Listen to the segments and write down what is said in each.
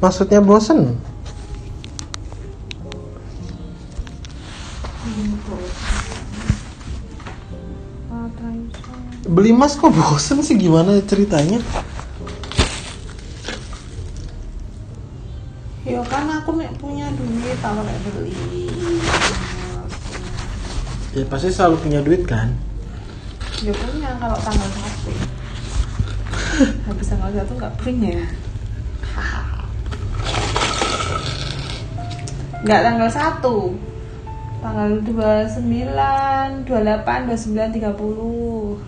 maksudnya bosen beli emas kok bosen sih gimana ceritanya Ya kan aku mek punya duit, aku mek beli. ya pasti selalu punya duit kan Ya punya kalau tanggal satu. Habis tanggal satu nggak punya. Nggak tanggal satu. Tanggal 29, 28, 29,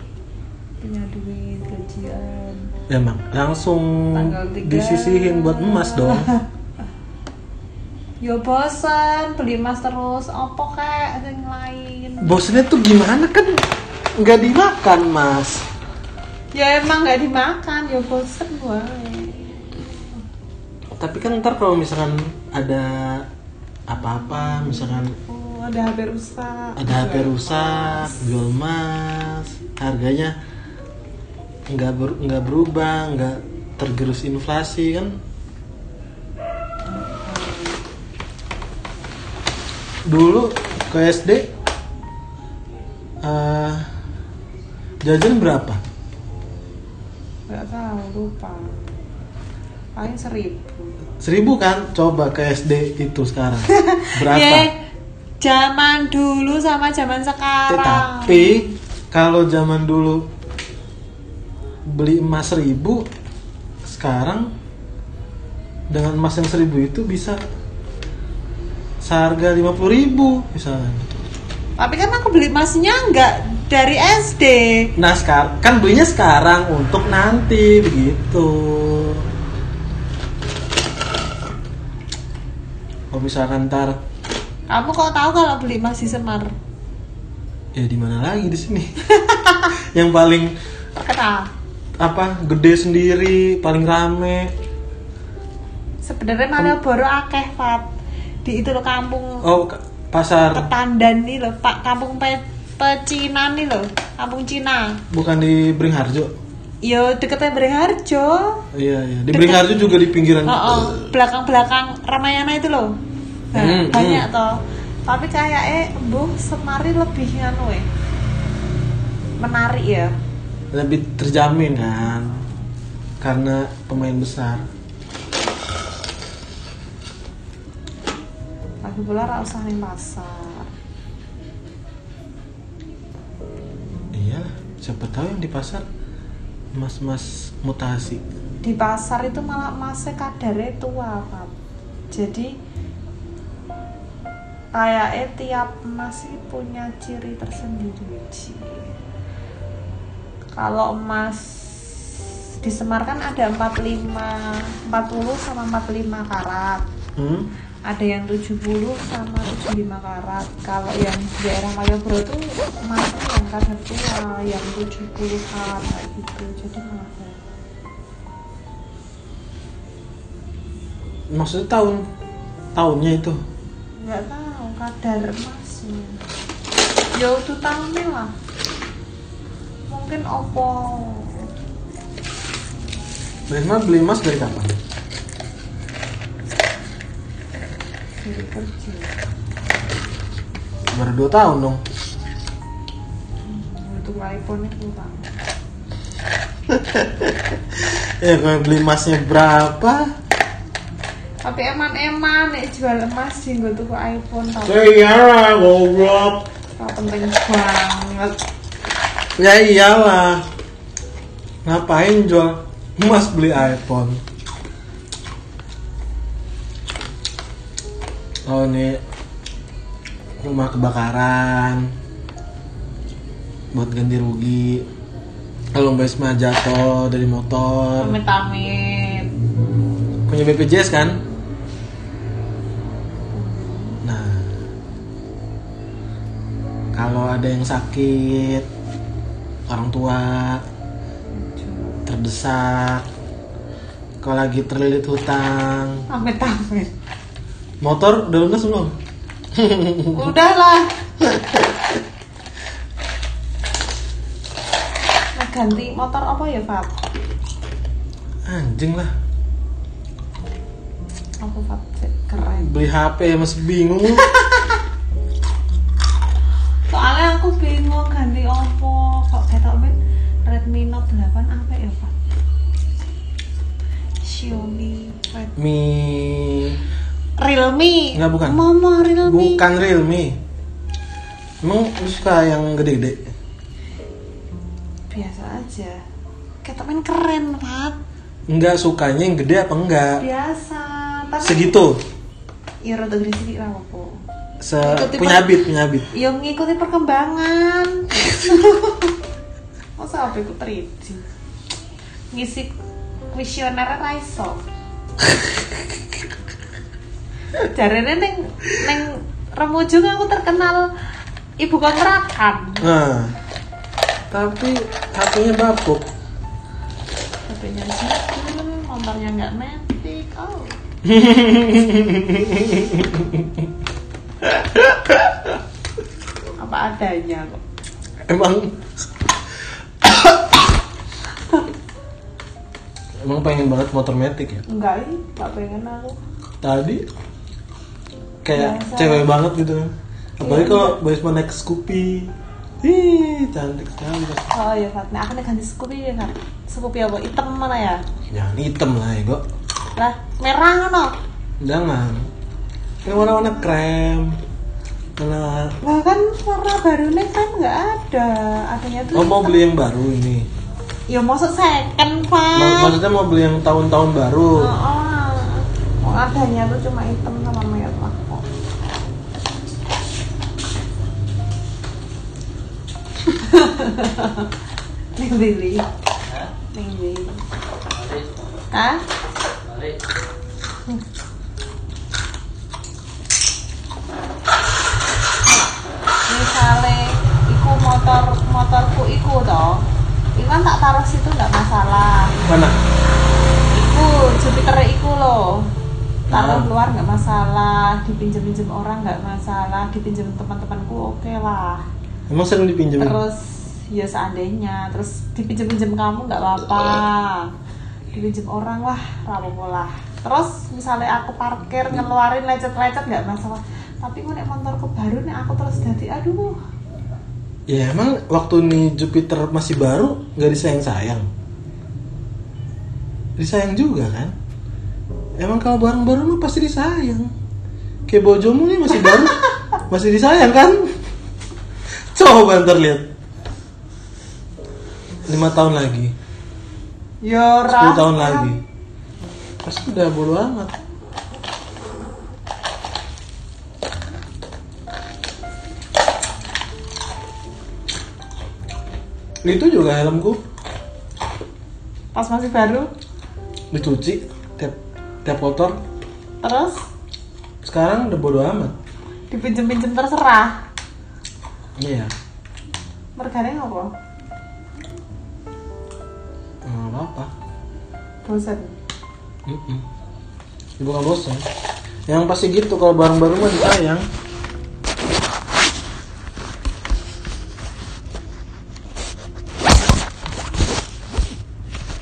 30 punya duit gajian emang langsung Tanggal tiga. disisihin buat emas dong yo Ya, bosen beli emas terus opo kek yang lain bosennya tuh gimana kan nggak dimakan mas ya emang nggak dimakan ya bosen wae tapi kan ntar kalau misalkan ada apa-apa misalkan oh ada HP rusak ada HP rusak jual emas harganya nggak ber- nggak berubah nggak tergerus inflasi kan dulu ke SD eh, jajan berapa nggak tahu lupa paling seribu seribu kan coba ke SD itu sekarang Ye, berapa Eh, zaman dulu sama zaman Eh, sekarang tapi kalau zaman dulu beli emas seribu, sekarang dengan emas yang seribu itu bisa seharga lima puluh ribu misalnya. tapi kan aku beli emasnya nggak dari SD Nah sekarang kan belinya sekarang untuk nanti begitu. Kalau misalkan ntar kamu kok tahu kalau beli emas di Semar ya di mana lagi di sini? yang paling kenal apa gede sendiri, paling rame. sebenarnya Malioboro akeh Fat di itu loh kampung Oh, ka- pasar Ketandan nih loh Pak kampung pe pecinan nih loh kampung Cina bukan di Beringharjo. Yo deketnya Beringharjo. Iya, iya. Di Beringharjo juga di pinggiran. Oh, oh, belakang-belakang Ramayana itu loh. Nah, Hmm, banyak hmm. toh. Tapi kayaknya Bu Semari lebih anu ya. Menarik ya. Lebih terjamin kan. Karena pemain besar. Lagi pula ra usah ning pasar. Iya, siapa tahu yang di pasar mas-mas mutasi. Di pasar itu malah masih kadarnya tua, Pak. Jadi kayaknya tiap masih punya ciri tersendiri. Ci. Kalau emas di Semar kan ada 45, 40 sama 45 karat. Hmm? Ada yang 70 sama 75 karat. Kalau yang daerah Malioboro tuh emasnya yang kadar tua, yang 70 karat kayak gitu. Jadi mahal. Maksudnya tahun tahunnya itu. nggak tahu kadar emasnya ya itu tahunnya lah mungkin opo Risma beli emas dari kapan? dari kerja Baru 2 tahun dong. Hmm, itu iPhone itu bang Ya kalau beli emasnya berapa? tapi eman-eman nek jual emas sih gue tuku iPhone tau Iya, goblok. tau penting banget Ya iyalah. Ngapain jual emas beli iPhone? Oh ini rumah kebakaran buat ganti rugi. Kalau Mbak Isma jatuh dari motor, amit-amit punya BPJS kan? Nah, kalau ada yang sakit, orang tua, terdesak kalau lagi terlilit hutang amit-amit motor udah lunas belum udahlah Nah, ganti motor apa ya Fab? anjing lah aku pakai keren beli HP ya masih bingung soalnya aku bingung ganti Oppo kok ketok ben Redmi Note 8 apa ya Pak Xiaomi Red Mi Realme Nggak, bukan. Momo Realme bukan Realme emang lu suka yang gede-gede biasa aja ketok ben keren Pak enggak sukanya yang gede apa enggak biasa tapi segitu ya rada gede sih lah Oppo Se Ikuti punya per- habit punya habit ya ngikuti perkembangan masa apa aku 3D ngisi kuesioner ra iso jarene neng neng Remuju aku terkenal ibu kontrakan nah tapi HP-nya bapuk HP-nya jadul, motornya nggak metik oh apa adanya kok emang emang pengen banget motor metik ya enggak ih nggak pengen aku tadi kayak Biasa. Iya. cewek banget gitu apalagi kalau Boysman naik Scoopy Ih, cantik sekali Oh iya Fat, nah aku nih ganti Scoopy ya kan Scoopy apa? Hitam mana ya? jangan hitam lah ego Lah, merah no? jangan yang warna-warna krem warna Lah kan warna baru nih kan nggak ada Adanya tuh oh mau beli yang baru ini Ya maksud Ma- second Fat maksudnya mau beli yang tahun-tahun baru Oh, oh. Mau adanya tuh cuma hitam sama merah kok Neng Lili Neng Lili Hah? misalnya iku motor motorku iku toh iku kan tak taruh situ nggak masalah mana iku Jupiter iku loh taruh Hmm. keluar nggak masalah dipinjam pinjam orang nggak masalah dipinjam teman-temanku oke lah emang sering dipinjemin terus ya seandainya terus dipinjam pinjam kamu nggak apa-apa dipinjam orang lah rapopo lah terus misalnya aku parkir ngeluarin lecet-lecet nggak masalah tapi gue nek motorku baru nih aku terus ganti aduh ya emang waktu nih Jupiter masih baru nggak disayang-sayang disayang juga kan emang kalau barang baru mah pasti disayang kayak bojomu nih masih baru masih disayang kan coba ntar lihat lima tahun lagi Ya, 10 tahun lagi pasti udah bodo amat itu juga helmku Pas masih baru, dicuci tiap tiap kotor terus sekarang udah bodo amat dipinjem-pinjem terserah. iya Mergane ngopo? nggak apa apa Bosen. bukan bosan yang pasti gitu kalau barang baru mah disayang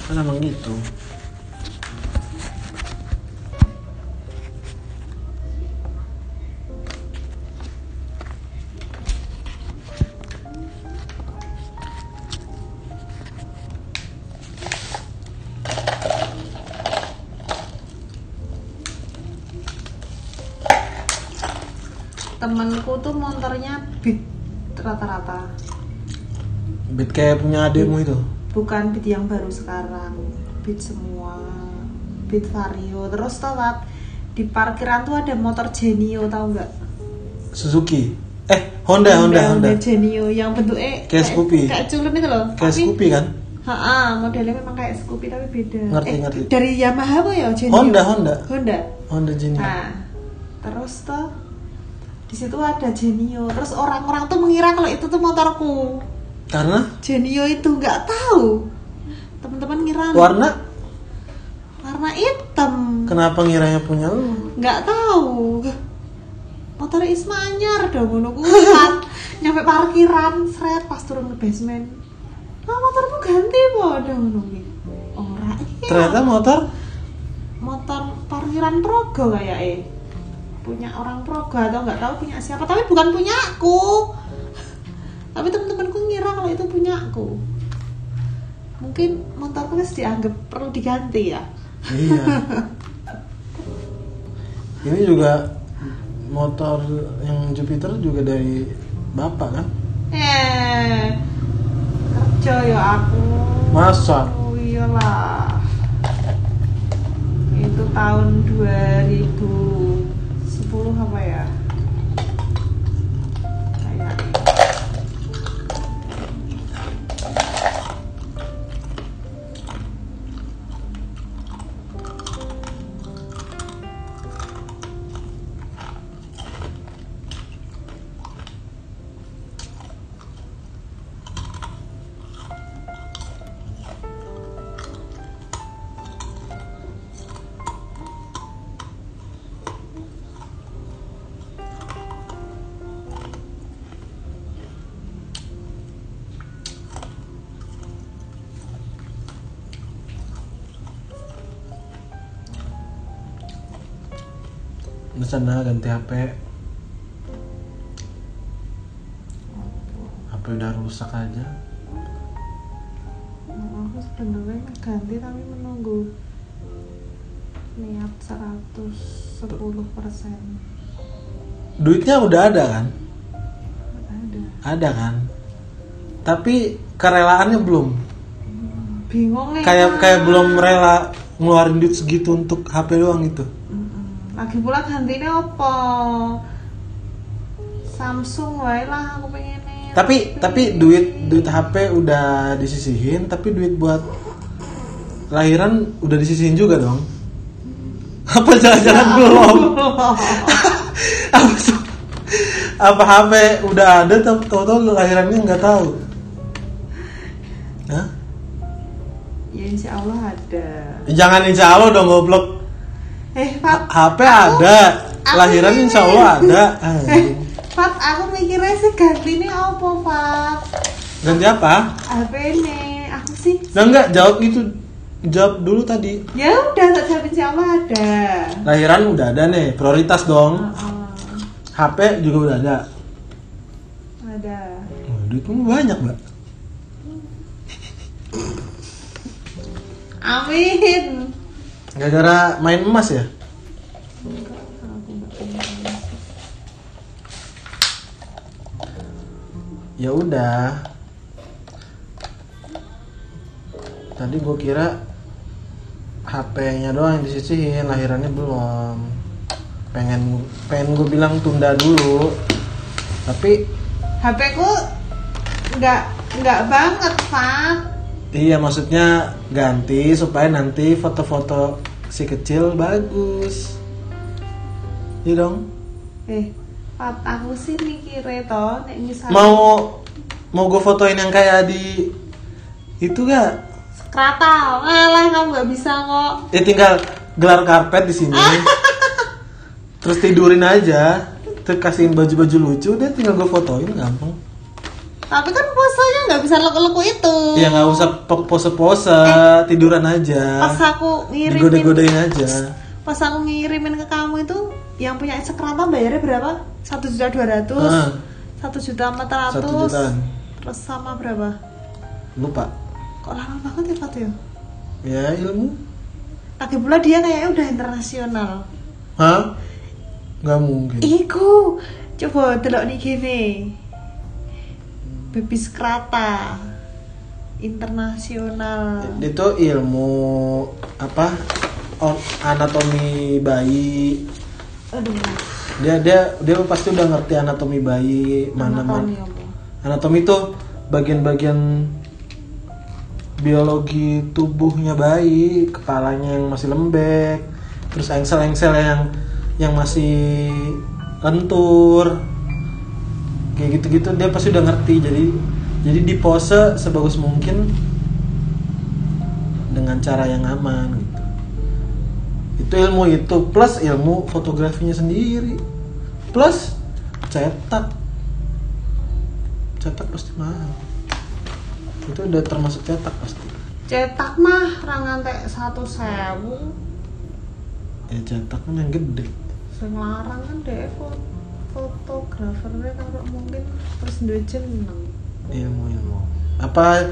kan emang gitu Temenku tuh montornya beat rata-rata. Beat kayak punya adikmu itu Bukan beat yang baru sekarang. Beat semua. Beat vario. Terus telat di parkiran tuh ada motor Genio tau nggak? Suzuki eh Honda Honda Honda, Genio yang bentuknya Kayak Scoopy. Kayak culun itu loh. kayak Tapi- Scoopy kan Ha-ha, modelnya memang kayak Scoopy tapi beda. Ngerti, Eh, ngerti. Dari Yamaha apa ya? Genio? Honda Iya. Honda Honda. Honda Genie Nah, terus tuh di situ ada Genio. Terus orang-orang tuh mengira kalau itu tuh motorku. karena Genio itu nggak tahu. Teman-teman ngira warna warna hitam. kenapa ngiranya punya lu Nggak tahu. Motor Ismanyar dong ngono kuat. Nyampe parkiran, seret pas turun ke basement. Ah, motormu ganti po dong ngono kuwi. Ora iya. ternyata motor motor parkir parkiran Progo kayak eh punya orang Progo atau nggak tahu punya siapa tapi bukan punyaku tapi teman-temanku ngira kalau itu punyaku mungkin motorku harus dianggap perlu diganti ya iya ini juga motor yang Jupiter juga dari bapak kan eh kerja ya aku masa oh iyalah itu tahun 2010 apa ya kayak di sana ganti HP HP udah rusak aja Nah, aku sebenarnya mau ganti tapi menunggu niat 110 persen duitnya udah ada kan ada ada kan tapi kerelaannya belum bingung nih kayak Kak. kayak belum rela ngeluarin duit segitu untuk HP doang gitu Mm-mm. lagi pula gantinya apa Samsung wae lah aku pengen tapi tapi duit duit HP udah disisihin tapi duit buat lahiran udah disisihin juga dong apa jangan-jangan belum apa tuh? apa HP udah ada tapi tahu-tahu lahirannya nggak tahu Hah? ya insya Allah ada jangan insya Allah dong goblok eh Fat HP ada aku Ah, lahiran ini. insya Allah ada eh Anjing. Fat aku mikirnya sih gantinya apa Fat ganti apa? HP ini aku sih Nah enggak jawab itu jawab dulu tadi ya udah tak jawab insya Allah ada Ah, lahiran udah ada nih prioritas dong Heeh. HP juga udah ada ah, ada Wah, duitmu banyak mbak amin gara-gara main emas ya ya udah tadi gue kira HP-nya doang yang disisihin lahirannya belum pengen pengen gue bilang tunda dulu tapi HP ku nggak nggak banget Fat Iya maksudnya ganti supaya nanti foto-foto si kecil bagus. Iya dong. eh Fat aku sih mikirnya toh nek misalnya Mau mau gue fotoin yang kayak di itu gak? Kratau, alah kamu nggak bisa kok Ya tinggal gelar karpet di sini. Terus tidurin aja. Terus kasihin baju-baju lucu deh tinggal gue fotoin gampang. tapi kan posenya nggak bisa leku-leku itu Ya nggak usah po- pose-pose, tiduran aja. Eh. pas aku ngirimin Digode-godein aja. pas aku ngirimin ke kamu itu yang punya sekrata bayarnya berapa satu juta dua ratus Ah. satu juta empat Satu ratus jutaan. terus sama berapa Lupa. kok lama banget ya Fat ya Ya ilmu. lagi pula dia kayaknya udah internasional Hah? Gak mungkin. Iku coba telok nih gini baby sekrata internasional itu ilmu apa on- anatomi bayi aduh dia dia dia pasti udah ngerti anatomi bayi mana anatomi mana apa? anatomi itu bagian-bagian biologi tubuhnya bayi kepalanya yang masih lembek terus engsel-engsel yang yang masih lentur kayak gitu-gitu dia pasti udah ngerti jadi jadi di pose sebagus mungkin dengan cara yang aman gitu itu ilmu itu plus ilmu fotografinya sendiri plus cetak cetak pasti mahal itu udah termasuk cetak pasti cetak mah rangan teh satu sewu ya cetak kan yang gede sering larang kan deh fo- fotografernya kalau mungkin terus duwe jeneng ilmu ilmu apa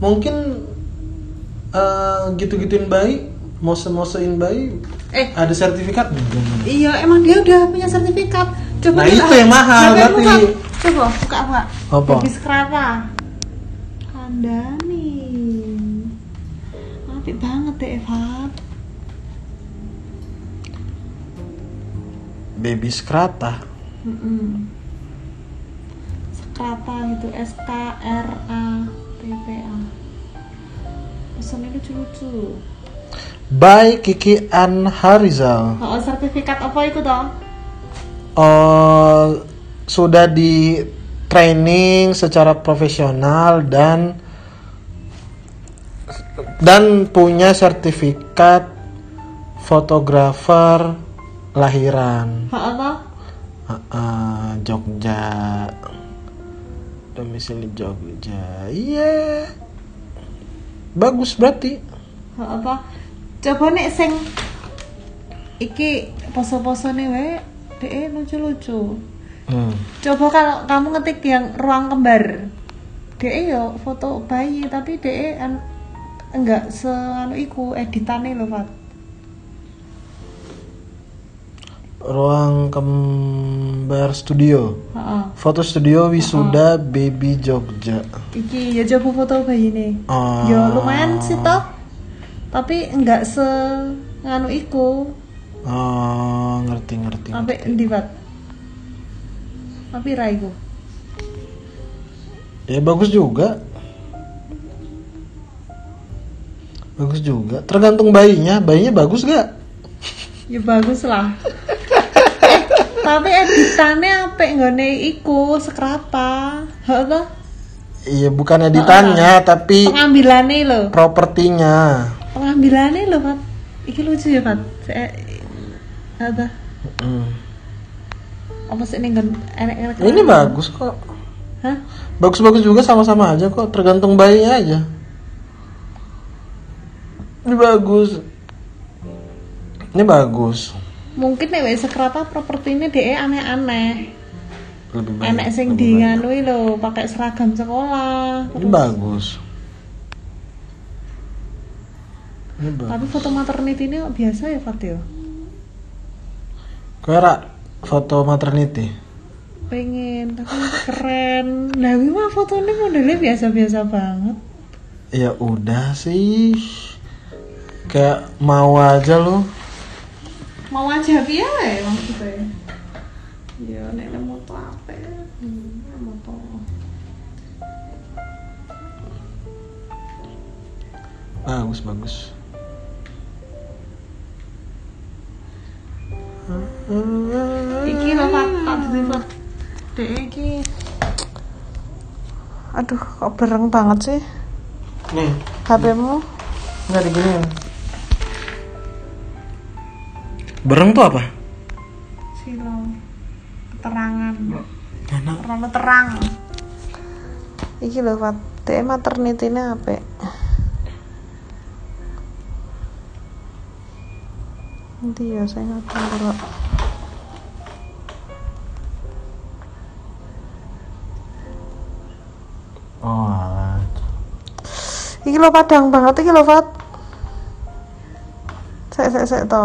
mungkin eh, gitu-gituin bayi mose-mosein bayi eh ada sertifikatnya jangan iya emang dia udah punya sertifikat coba Nah, itu yang mahal, coba berarti. buka. coba buka pak Apa? baby scrapa kandani apik banget deh Evan baby skrata Mm-mm. Sekrata gitu, S K R A T P A. Pesannya lucu-lucu. by Kiki An Harizal Oh, sertifikat apa itu toh? Eh, sudah di training secara profesional dan dan punya sertifikat fotografer lahiran Oh, apa? Ah, ah, Jogja domisili Jogja iya bagus berarti Oh, apa? Coba nih sing iki poso-poso nih we, deh lucu-lucu. Hmm. Coba kalau kamu ngetik yang ruang kembar, deh yo foto bayi tapi deh an- enggak se anu iku editannya loh Fat. ruang kembar studio Heeh. Foto studio wisuda baby Jogja. Iki ya coba foto bayi nih. Ah. Ya lumayan sih toh. Tapi enggak se nganu iku Oh, ngerti ngerti. sampai endi Pak? Tapi ra iku. Ya bagus juga. Bagus juga. Tergantung bayinya. Bayinya bagus gak? Ya bagus lah. Eh, tapi editannya apa nggone iku sekrapa. Heeh toh? Iya bukan editannya Ah. tapi Pengambilane lho. propertinya. Pengambilane lho, Pak. Iki lucu ya, Pak. Se- Apa? Mm. Apa sih ini nggon enek-enek? Ya, Ini bagus kok. Hah? Bagus-bagus juga sama-sama aja kok. Tergantung bayinya aja. Ini bagus. Ini bagus. Mungkin nek wis sekrapa propertine dhek aneh-aneh. Lebih baik, anak sing lebih di baik. nganui lho pakai seragam sekolah Ini bagus. Ini bagus. tapi foto maternity ini kok biasa ya Fat ya Kue Ra, foto maternity. pengen tapi keren nah ini mah fotonya modelnya biasa-biasa banget Ya udah sih. Kayak mau aja lo. mau aja ya maksudnya ya nek nemu tuh apa ya nemu tuh Bagus bagus. iki lho Fat tak duwe Fat Hmm. dek iki aduh kok bereng banget sih Nih, HP-mu nggak diginiin. Bereng tuh apa? silo keterangan Mana? terlalu terang iki lho Fat dek maternity ini apa nanti ya saya nggak tahu kalau Oh, alah. iki lho padang banget iki lho Fat sek sek sek to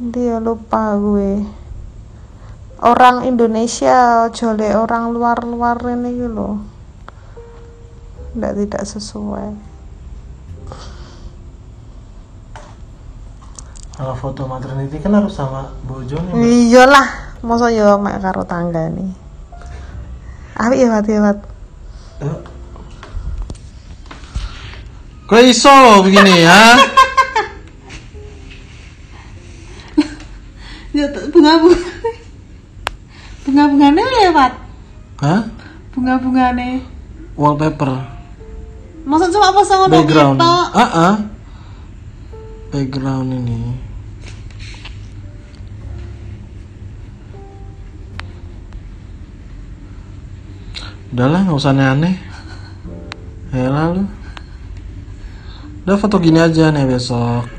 nanti ya lupa gue orang Indonesia jole orang luar-luar ini iki lho tidak tidak sesuai kalau foto maternity kan harus sama ya, bojonya. Hmm. iyalah masa yo mek karo tangga nih Apik ya Fat ya Fat Eh. Kok iso begini ya? ya t- bunga-bunga bunga-bunganya lewat Hah? bunga-bunganya Wallpaper. maksud cuma apa sama background ah ah. background ini udahlah nggak usah aneh-aneh Ya lalu. Udah foto gini aja nih besok.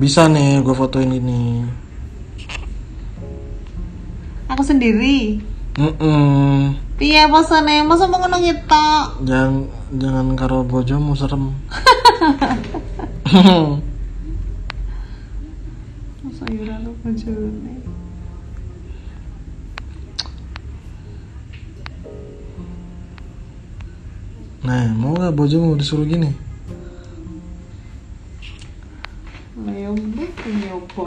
Bisa nih gue fotoin ini. Aku sendiri. Mm-mm. Iya bosane, masa mau ngono nyetok. Jangan jangan karo bojomu serem. Masa yura lu ya bojone. nah, mau gak bojomu disuruh gini? Leo ya mbek nyoba.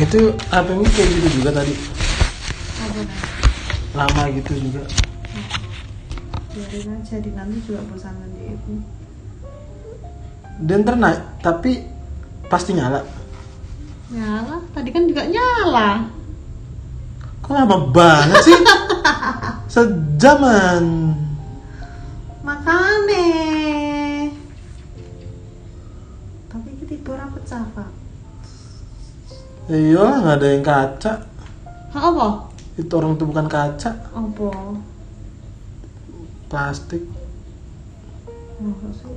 Itu HPmu kayak gitu juga tadi. Lama gitu juga. Biarin aja, di nanti juga ya, bosan nanti itu. Dan ternak, tapi pasti nyala. Nyala, tadi kan juga nyala. Kok lama banget sih? Sejaman. Makane. Tapi iki tiba ora pecah, Pak. Ya iyalah nggak ada yang kaca. Ha apa? Itu orang itu bukan kaca, Apa? plastik. Masa sih?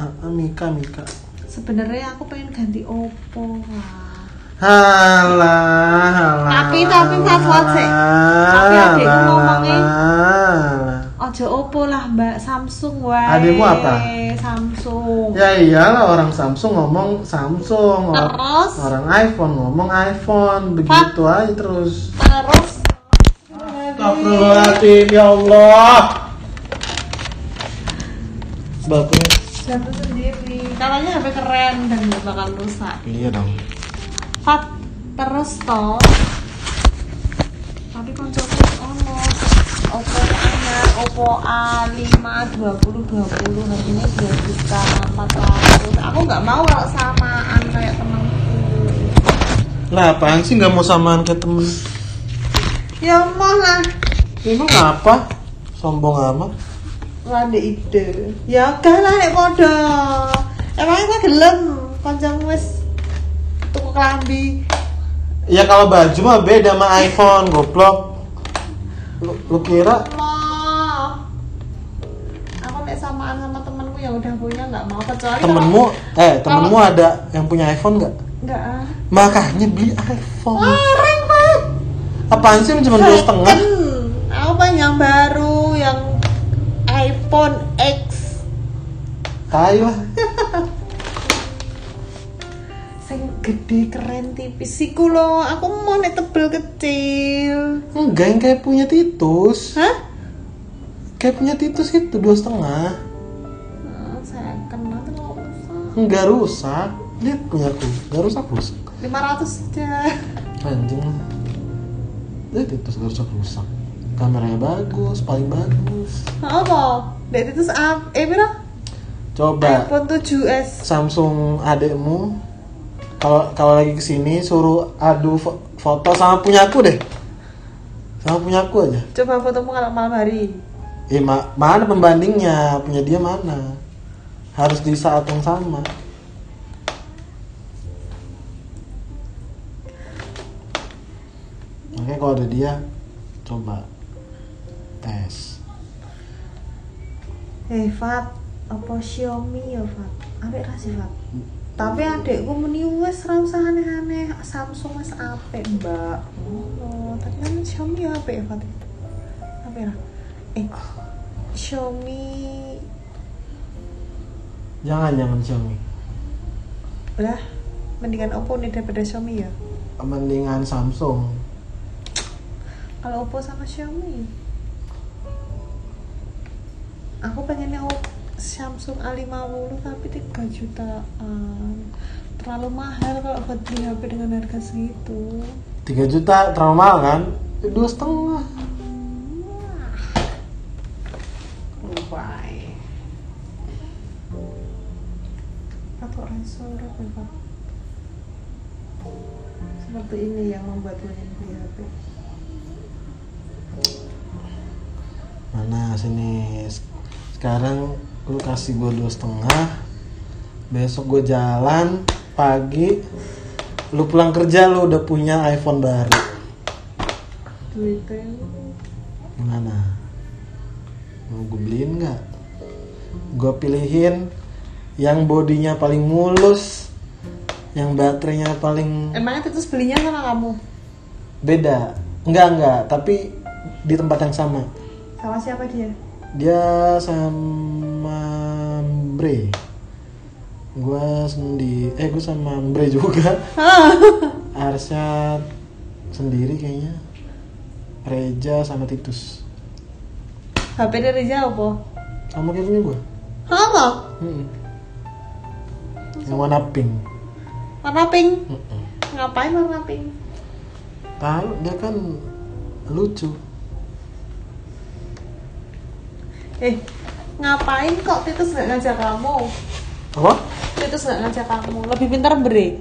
Ah, ah, Mika, Mika. Sebenarnya aku pengen ganti opo, Pak. Halah, halah. Tapi, tapi, Mas Watsi. Tapi adekku ngomongnya. Ojo Oppo lah Mbak Samsung wae. Adekmu apa? Samsung. Ya iyalah orang Samsung ngomong Samsung, or- Terus? orang iPhone ngomong iPhone, begitu aja terus. Terus Astagfirullahaladzim, ya Allah. Sebabnya jatuh sendiri. Katanya HP keren dan gak bakal rusak. iya dong. Fat terus toh. Tapi koncoku ono Oppo anyar Oppo A5 20 20 harganya 2 Nah, juta 400. Aku nggak mau kalau samaan kayak temanku. Lah apaan sih nggak mau samaan kayak temen? Ya mau lah. Emang apa? Sombong amat. Wah, ndek ide. Ya gak lah nek padha. Emangnya gue gelem kancamu wis tuku kelambi. Ya kalau baju mah beda sama iPhone, goblok. Lu, lu kira Mau. Ya Aku nek samaan sama temenku yang udah punya nggak mau kecuali temenmu eh temenmu ada yang punya iPhone nggak? enggak ah. Makanya beli iPhone. Larang, Pak. Apaan sih Oh. cuma dua setengah? Second. Aku pengen yang baru yang iPhone X Tai lah. sing gede keren tipis iku lho aku mau nek tebel kecil Enggak yang kayak punya titus. hah Kayak punya titus itu dua setengah. Hmm, second nanti mau usah Enggak rusak. Lihat punya aku. Enggak rusak rusak. 500 saja Anjing. Eh titus enggak rusak rusak. Kameranya bagus, paling bagus. Nah, apa? dari itu up eh pira? Coba iPhone 7s Samsung adekmu kalau kalau lagi kesini suruh adu fo- foto sama punya aku deh. Sama punya aku aja. coba fotomu kalau malam hari Eh ma- mana pembandingnya? Punya dia mana? Harus di saat yang sama. Makanya kalau ada dia, coba tes. eh Fat apa Xiaomi ya Fat apik ra sih Fat tapi adekku meni wis ra usah aneh-aneh Samsung wis apik mbak oh tapi kan Xiaomi ya apik ya Fat apik ra eh Xiaomi Jangan jangan Xiaomi. lah mendingan Oppo nih daripada Xiaomi ya Mendingan Samsung. kalau Oppo sama Xiaomi aku pengennya O- Samsung A50 tapi 3 jutaan terlalu mahal kalau buat beli HP dengan harga segitu 3 juta terlalu mahal kan? Eh, Dua setengah. Why? kok resurut ya, Pak? Seperti ini yang membuat main di HP. mana sini sekarang lu kasih gua dua setengah besok gua jalan pagi lu pulang kerja lu udah punya iPhone baru Duitnya gimana mau gue beliin nggak gue pilihin yang bodinya paling mulus yang baterainya paling Emangnya Titus belinya sama kamu? beda enggak enggak tapi di tempat yang sama Sama siapa dia? dia sama Bre gue sendiri eh gue sama Bre juga Ah, Arsyad sendiri kayaknya Reja sama Titus HP dari Riza apa? sama kayak punya gue Apa? Mm-mm. yang warna pink Warna pink. Mm-mm. Ngapain warna pink? tahu dia kan lucu Eh, ngapain kok Titus nggak ngajak kamu? apa Titus nggak ngajak kamu. Lebih pintar Bre.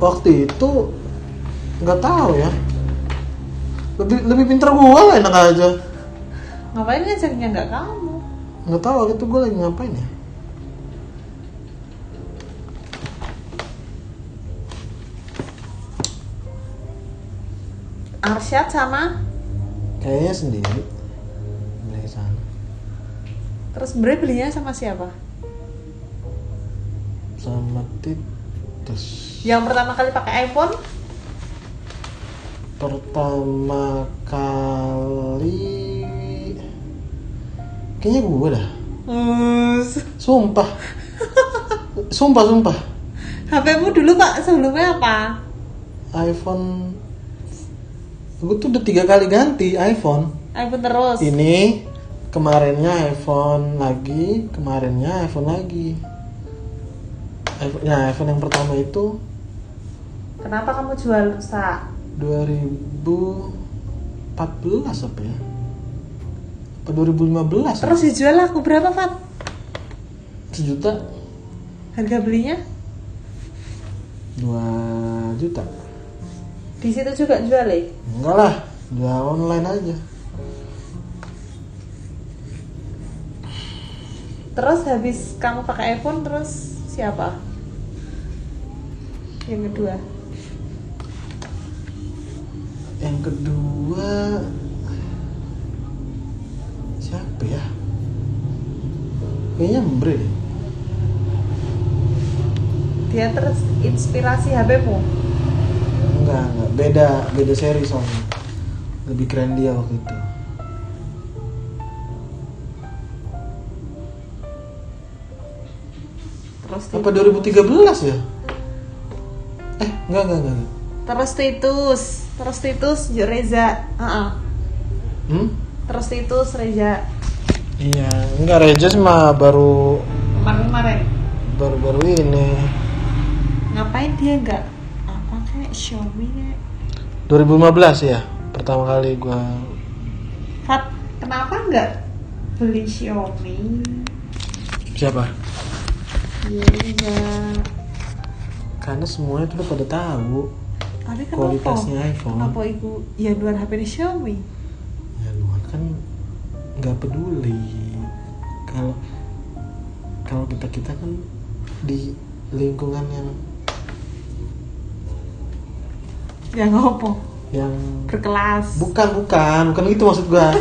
waktu itu nggak tahu ya lebih lebih pintar gua lah enak aja Ngapain ngajaknya nggak kamu? nggak tahu waktu itu gua lagi ngapain ya Arsyad sama kayaknya sendiri dari sana terus Bre belinya sama siapa? sama Titus Yang pertama kali pakai iPhone pertama kali kayaknya gua dah Us. sumpah sumpah sumpah HP-mu dulu Pak sebelumnya apa? iPhone gue tuh udah tiga kali ganti iPhone iPhone terus. ini kemarinnya iPhone lagi kemarinnya iPhone lagi iPhone, nah iPhone yang pertama itu Kenapa kamu jual rusak? 2014 apa ya apa 2015 Terus dijual aku berapa Pak? sejuta Harga belinya? 2 juta Di situ juga jual ya? enggak lah udah online aja Terus habis kamu pakai iPhone terus siapa? Yang kedua. yang kedua siapa ya kayaknya Mbre deh Dia terinspirasi HP-mu. enggak enggak beda beda seri soalnya lebih keren dia waktu itu Terus apa 2013 ya eh enggak enggak enggak enggak. Terus Titus, terus Titus Jo Reza. Heeh. hmm Terus Titus Reza. iya enggak Rejas mah baru Kemarin-kemarin baru baru ini ngapain dia nggak apa kayak Xiaomi kayak 2015 ya pertama kali gua Fat, kenapa nggak beli Xiaomi? siapa Iya, iya. karena semuanya tuh udah pada tahu Tapi kan kenapa? Kualitasnya iPhone. Kenapa itu ya luar HP ini Xiaomi? ya Luan kan nggak peduli kalau kalau kita kita kan di lingkungan yang Ya ngopo? yang Berkelas. bukan bukan bukan gitu maksud gua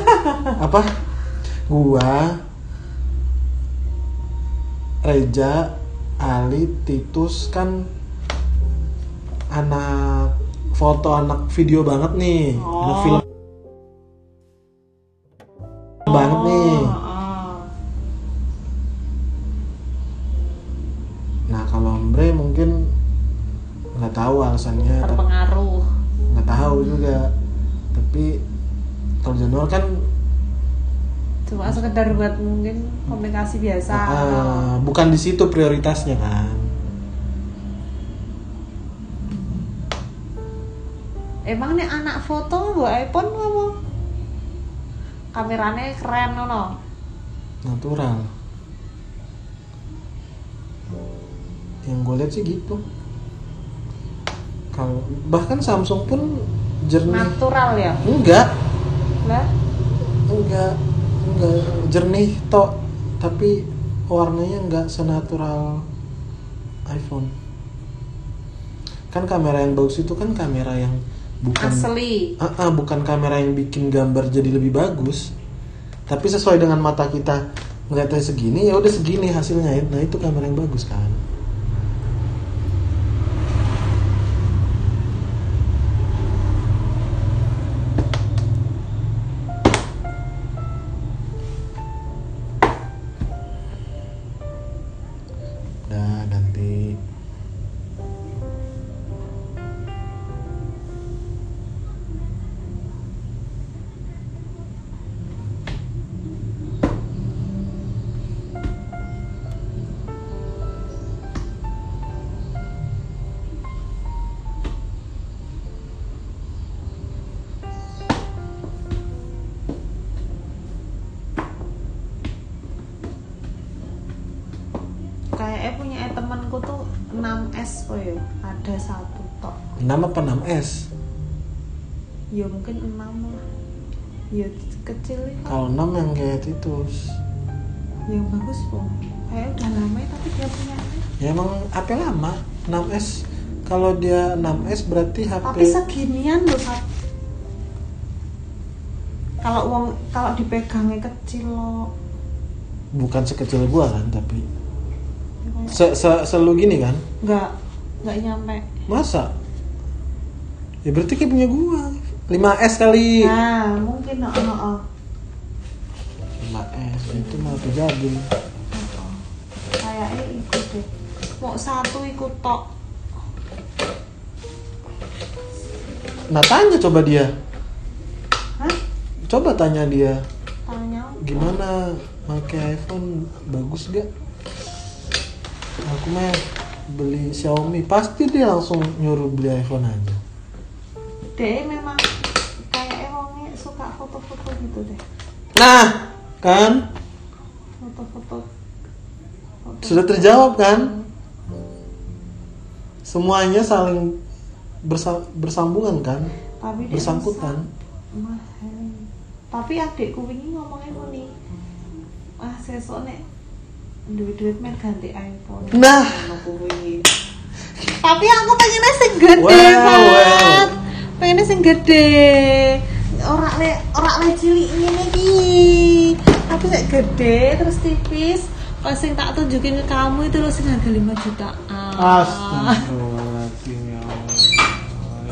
apa gua Reja Ali Titus kan anak foto anak video banget nih anak Oh. film banget nih Oh, oh. Nah kalau Ombre mungkin nggak tahu alasannya, tapi Terpengaruh. nggak tahu juga. Tapi kalau Januar kan Cuma sekedar buat mungkin komunikasi biasa. ah, bukan di situ prioritasnya kan. Emang nih anak foto bu iPhone kamu? Kameranya keren nono. Natural. yang gue lihat sih gitu kalau bahkan Samsung pun jernih natural ya enggak lah enggak enggak jernih tok tapi warnanya enggak senatural iPhone kan kamera yang bagus itu kan kamera yang bukan asli Ah, ah, bukan kamera yang bikin gambar jadi lebih bagus tapi sesuai dengan mata kita ngeliatnya segini ya udah segini hasilnya nah itu kamera yang bagus kan udah ganti kayaknya punya temanku tuh 6S po ya ada satu tok 6 apa 6S ya mungkin 6 lah ya kecil ya kalau 6 yang kayak Titus yang bagus po kayak udah lama ya, tapi dia punya Ya emang HP lama, 6S. Kalau dia 6S berarti HP tapi seginian loh Fat. kalau uang kalau dipegangnya kecil loh bukan sekecil gua kan, tapi se -se selalu gini kan. nggak nggak nyampe Masa? Ya berarti kayak punya gua. 5S kali. nah mungkin oh, oh, oh. 5S itu mah HP jagung. kayaknya ikut deh mau satu ikut tok Nah, tanya coba dia. hah Coba tanya dia, tanya gimana pakai iPhone bagus gak? Aku mah beli Xiaomi, pasti dia langsung nyuruh beli iPhone aja. deh memang kayaknya wongnya suka foto-foto gitu deh Nah, kan? foto-foto foto. Sudah terjawab kan? Semuanya saling bersa- bersambungan kan? tapi dia Bersangkutan. bisa mahal. eh. tapi adikku ini ngomongnya muni ah sesuk nek duit-duit men ganti iPhone Nah. Ngono kuwi. tapi aku pengennya sing gede Wow, Mat. wow. pengennya sing gede orang le orang le cilik ngene iki tapi sik gede terus tipis pas yang tak tunjukin ke kamu itu loh sing harga 5 jutaan Astagfirullahaladzim ya Allah.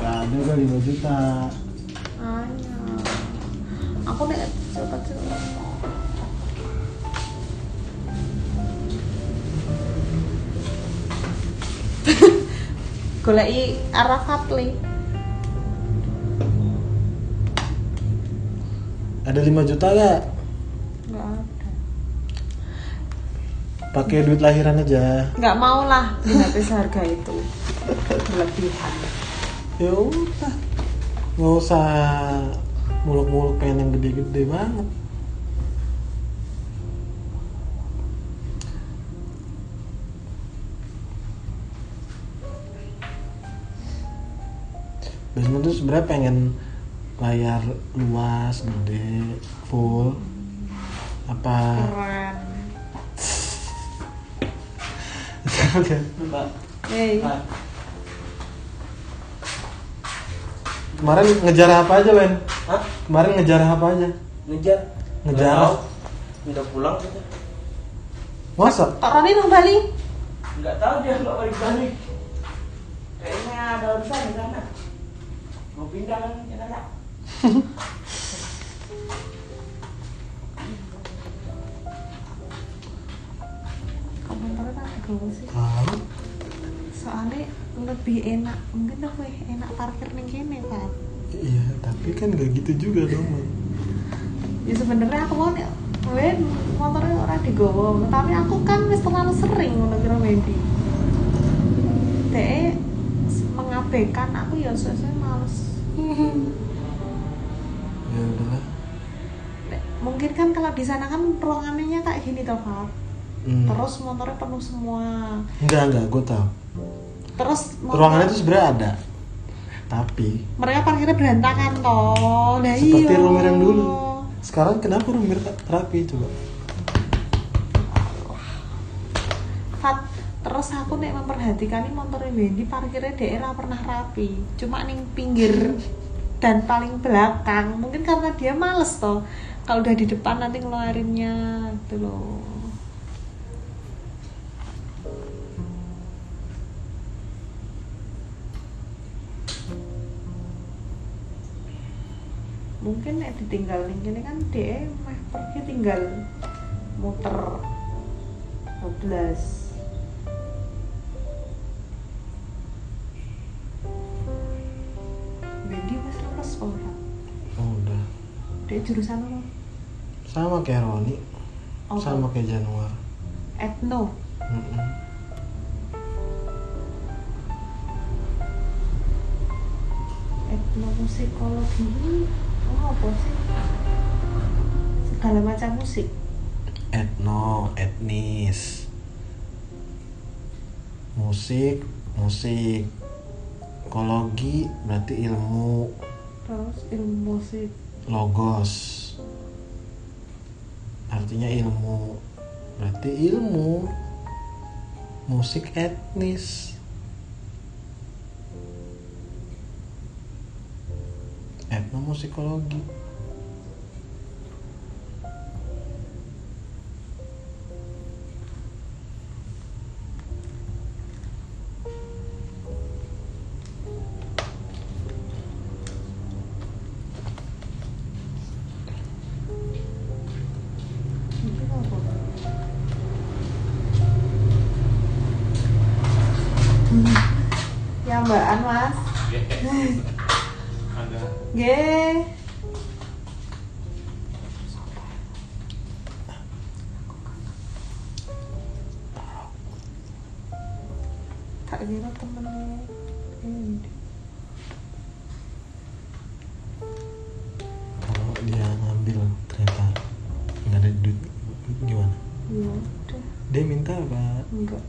Ya ada kali 5 juta. Ayo. Aku nek cepet cepet. Goleki Arafat li. Ada 5 juta gak? Enggak ada. Pakai duit lahiran aja. Enggak mau lah di HP seharga itu. Berlebihan. Ya udah. Nggak usah muluk-muluk pengen yang gede-gede banget. Basement tuh sebenarnya pengen layar luas, gede, full. Apa? Keren. Hey. Kemarin ngejar apa aja, Len? Hah? Kemarin ngejar apa aja? Ngejar? Ngejar. Nggak tahu. Udah pulang gitu. kita. Masa? Tok Roni nang Bali. Enggak tahu dia nggak balik balik. Kayaknya ada urusan di sana. Mau pindah kan ke sana? Komentarnya kan gawe sih. Tahu. Soalnya lebih enak, mungkin lebih enak parkir ning kene, Pak. Iya, tapi kan gak gitu juga dong, Man. ya sebenarnya aku mau nih gue motornya orang digowo tapi aku kan wis terlalu sering ngono kira Wendy de mengabaikan aku ya sesuai males Ya udahlah. Dek, mungkin kan kalau di sana kan ruangannya kayak gini toh Fab Hmm. terus motornya penuh semua enggak enggak gue tahu terus motor- ruangannya tuh sebenarnya ada tapi mereka parkirnya berantakan toh nah seperti iya. rumir yang dulu sekarang kenapa rumir tak terapi coba Fat, terus aku nek memperhatikan ini motor Wendy parkirnya daerah pernah rapi cuma ning pinggir dan paling belakang mungkin karena dia males toh kalau udah di depan nanti ngeluarinnya gitu loh mungkin nek ditinggal ning kene kan dia meh pergi tinggal muter 12 Wendy wis lulus ora? oh udah Dia jurusan apa? sama kayak Roni Apa? sama kayak Januar Etno. Mm-mm. Etnomusikologi ini oh, apa sih? Segala macam musik. etno etnis musik musik ekologi berarti ilmu Terus ilmu musik. logos artinya ilmu berarti ilmu musik etnis etnomusikologi Mungkin apa? Ya mbakan mas. Ada. Yeay. Tak kira temennya Wendy. kalau dia ngambil ternyata nggak ada duit gimana Ya udah, dia minta apa enggak.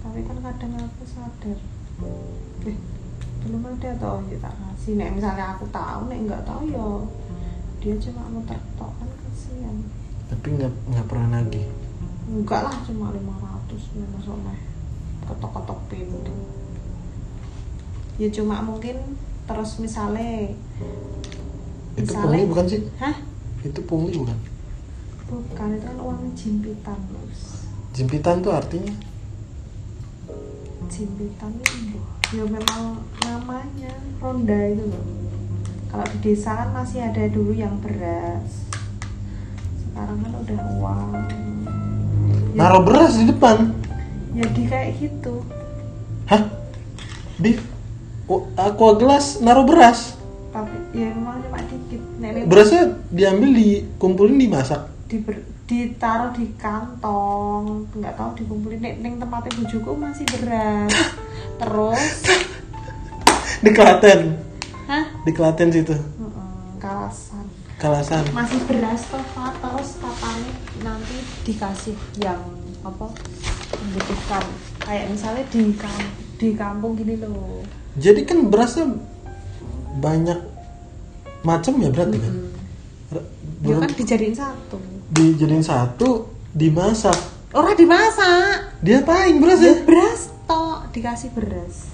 Tapi kan kadang aku sadar. Eh, belum ada tau ya tak kasih. Nek misalnya aku tahu, nek enggak tahu ya dia cuma muter tok kan kasihan. tapi nggak nggak pernah nagih enggak lah cuma 500 ya masuk meh ketok-ketok pintu ya cuma mungkin terus misalnya itu Misalnya- pungli bukan sih hah itu pungli bukan bukan itu kan uang jimpitan Lus. jempitan tuh artinya jimpitan itu ya memang namanya ronda itu loh kalau di desa kan masih ada dulu yang beras sekarang kan udah uang ya, naruh beras di depan jadi kayak gitu hah di u- aqua gelas naruh beras tapi ya memang cuma dikit Nenek- berasnya diambil dikumpulin dimasak diber, ditaruh di kantong nggak tahu dikumpulin ning, ning tempatnya bujuku masih beras terus di Klaten hah di Klaten situ Mm-mm, kalasan Kalasan masih beras tuh Pak. terus katanya nanti dikasih yang apa membutuhkan kayak misalnya di kam- di kampung gini loh jadi kan berasnya banyak macam ya berarti kan Mm. Ra- ya ber- kan dijadiin satu dijadiin satu dimasak orang dimasak dia paling berasnya beras tok dikasih beras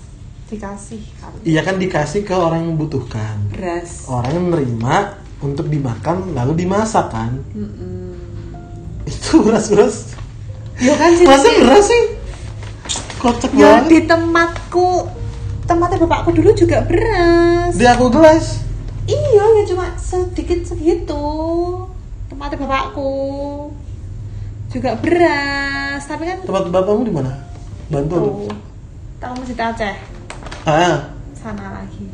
dikasih kan iya kan dikasih ke orang yang membutuhkan beras orang yang menerima untuk dimakan lalu dimasak kan Mm-mm. itu beras beras Ya kan sih. masa beras sih kocak Ya banget di tempatku tempatnya bapakku dulu juga beras. di aku gelas Iya ya cuma sedikit segitu. Tempatnya bapakku juga beras, tapi kan tempat bapakmu di mana Bantul tuh. Tahu Masjid Aceh ah sana lagi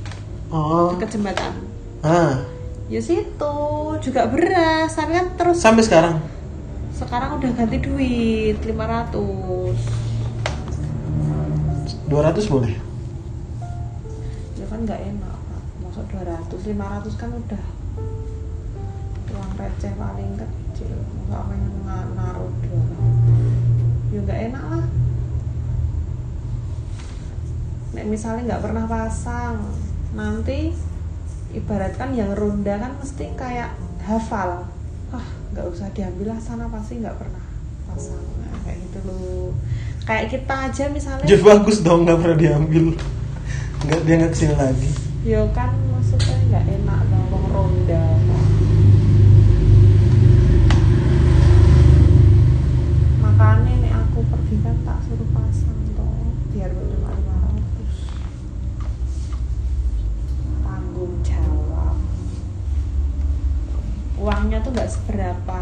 oh dekat jembatan. ah Ya situ juga beras, tapi kan terus sampai sekarang sekarang udah ganti duit 500 200 boleh ya kan nggak enak Pak. masuk 200 500 kan udah uang receh paling kecil nggak main ngaruh 200 ya nggak enak lah Nek misalnya nggak pernah pasang nanti ibaratkan yang ronda kan mesti kayak hafal ah nggak usah diambil lah sana pasti nggak pernah pasang Nah, kayak gitu loh kayak kita aja misalnya Jadi Ya, bagus dong nggak pernah diambil. Nggak dia nggak kesini lagi. Yo kan maksudnya nggak enak dong wong ronda. Makanya nih aku pergi kan tak suruh pasang toh biar bener 500 Tanggung jawab. Uangnya tuh nggak seberapa.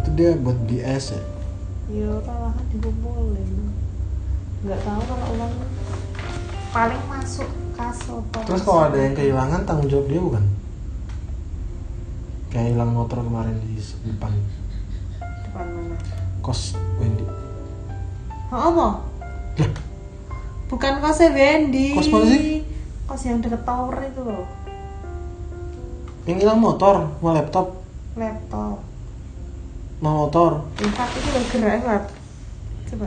Itu dia buat BS ya. Yo malahan dikumpulin. Nggak tahu kalau uang paling masuk kas apa Terus kalau ada yang kehilangan tanggung jawab dia bukan? Kayak hilang motor kemarin di depan depan mana? kos Wendy. Oh, apa? Lah. Bukan kosnya Wendy. Kos mana sih? Kos yang deket tower itu loh, Yang hilang motor, mau laptop, laptop. mau motor. Infak itu loh gerak Pak. Coba.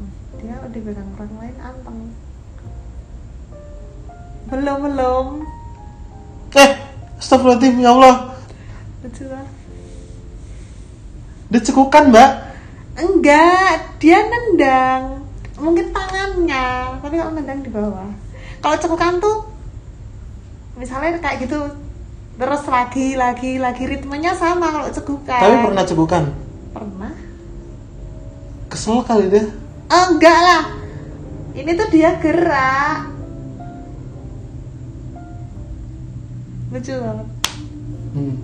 Hmm, Dia udah pegang orang lain anteng. Belum belum. Eh, astagfirullahaladzim ya Allah. Lucu lah. Dia cekukan, Mbak. Enggak, dia nendang. Mungkin tangannya, tapi kalau nendang di bawah. Kalau cekukan tuh misalnya kayak gitu terus lagi lagi lagi ritmenya sama kalau cekukan. Tapi pernah cekukan. Pernah? Kesel kali dia. Eh, Enggak lah. Ini tuh dia gerak. Lucu banget. Hmm. Hmm.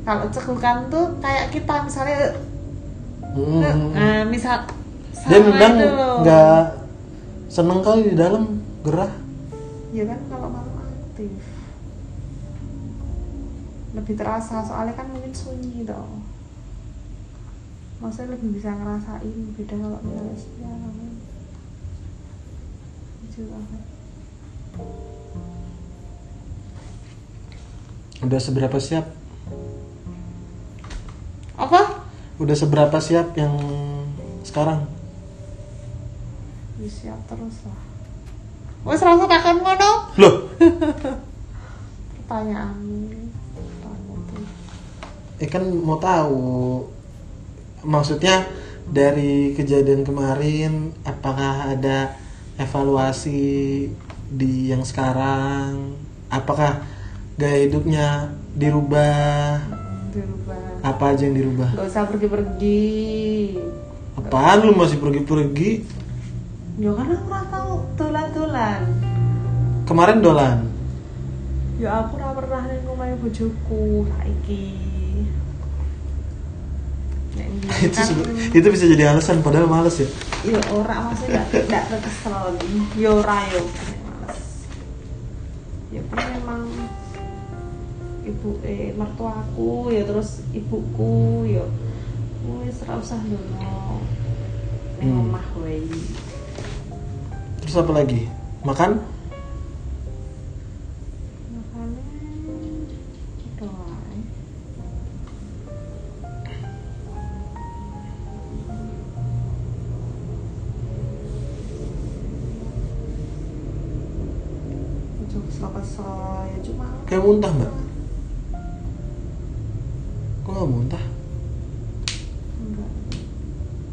Kalau cekukan tuh kayak kita misalnya Hmm. Nah, misal Dia sama memang itu loh. nggak seneng kali di dalam gerah. Ya kan kalau malam aktif. Lebih terasa soalnya kan mungkin sunyi dong. Maksudnya lebih bisa ngerasain beda kalau misalnya siang. Lucu banget. Udah seberapa siap? Apa? Udah seberapa siap yang sekarang? Ya, siap terus lah. Wes rasa takon ngono? Loh, Pertanyaanmu. Pertanyaan tuh. ya kan mau tahu. Maksudnya dari kejadian kemarin apakah ada evaluasi di yang sekarang? Apakah gaya hidupnya dirubah? Dirubah. Apa aja yang dirubah? Gak usah pergi-pergi. Apaan lu masih pergi-pergi? Ya kan aku ora tau dolan-dolan. Kemarin dolan. Ya aku ora pernah ning omahe bojoku saiki. Nek ndi itu kan- sebe- itu bisa jadi alasan padahal males ya ya ora maksudnya gak gak kekesel. Ya ora yo. Nek males. Ya kan memang ibu eh mertuaku ya terus ibuku ya wis ora usah ndono. Ning Hmm. omah wae. terus apa lagi makan Makanya gitu wae. Ujung kesel-kesel, ya cuma kayak muntah mbak kok nggak muntah enggak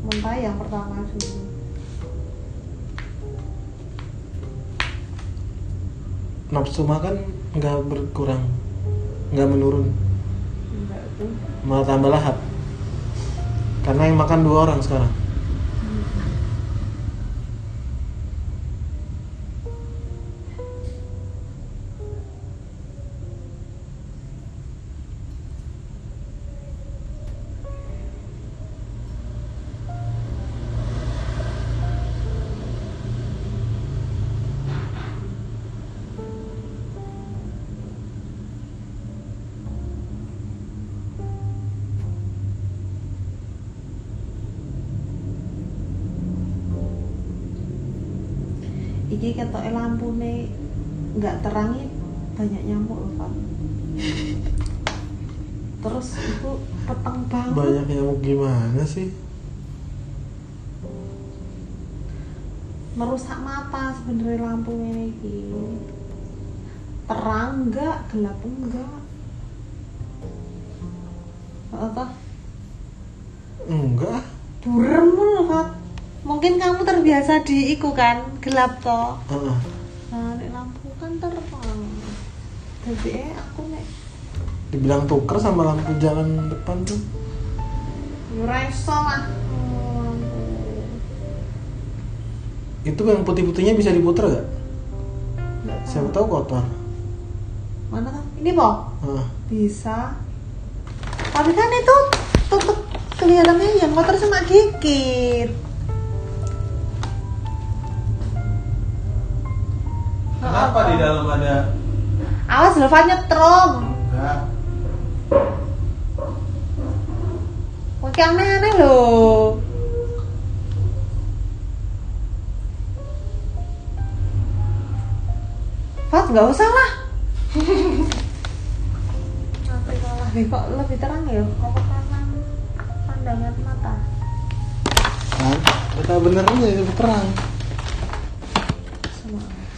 muntah ya yang pertama dulu nafsu makan nggak berkurang nggak menurun enggak tuh malah tambah lahap karena yang makan dua orang sekarang iki ketoke lampune nggak terangi banyak nyamuk loh Pak. terus itu peteng banget banyak nyamuk gimana sih merusak mata sebenarnya lampu ini iki. terang enggak gelap enggak apa enggak burem loh Fat. mungkin kamu terbiasa di iku kan gelap toh Heeh. nah nek lampu kan terang jadi eh aku nek dibilang tuker sama lampu jalan depan tuh yureso lah Oh, lampu. itu yang putih putihnya bisa diputer gak Nggak siapa tahu kotor mana kan ini boh Heeh. bisa tapi kan itu tutup kelihatannya yang kotor cuma gigit kenapa di dalam ada awas levatnya nyetrum enggak Oke aneh-aneh loh Fat nggak usah lah Nanti malah deh, kok lebih terang ya Kok karena pandangan mata kan kita beneran jadi terang Sama aja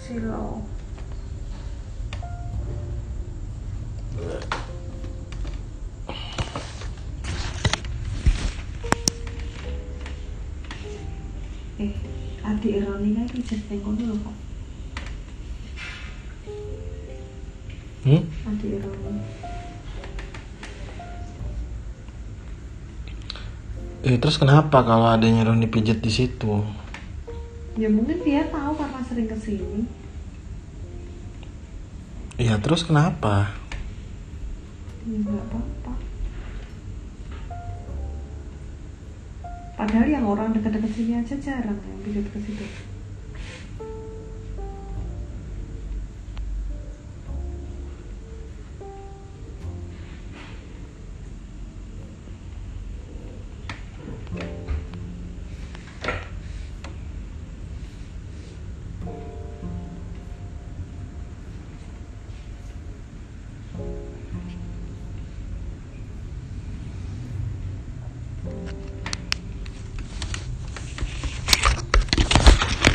Silo Eh, adik Roni kan pijat yang kono lho kok hmm? Adik Roni eh terus kenapa kalau ada Roni pijet di situ Ya mungkin dia tahu karena sering kesini iya terus kenapa Ya nggak apa-apa Padahal yang orang dekat-dekat sini aja jarang yang pijat ke situ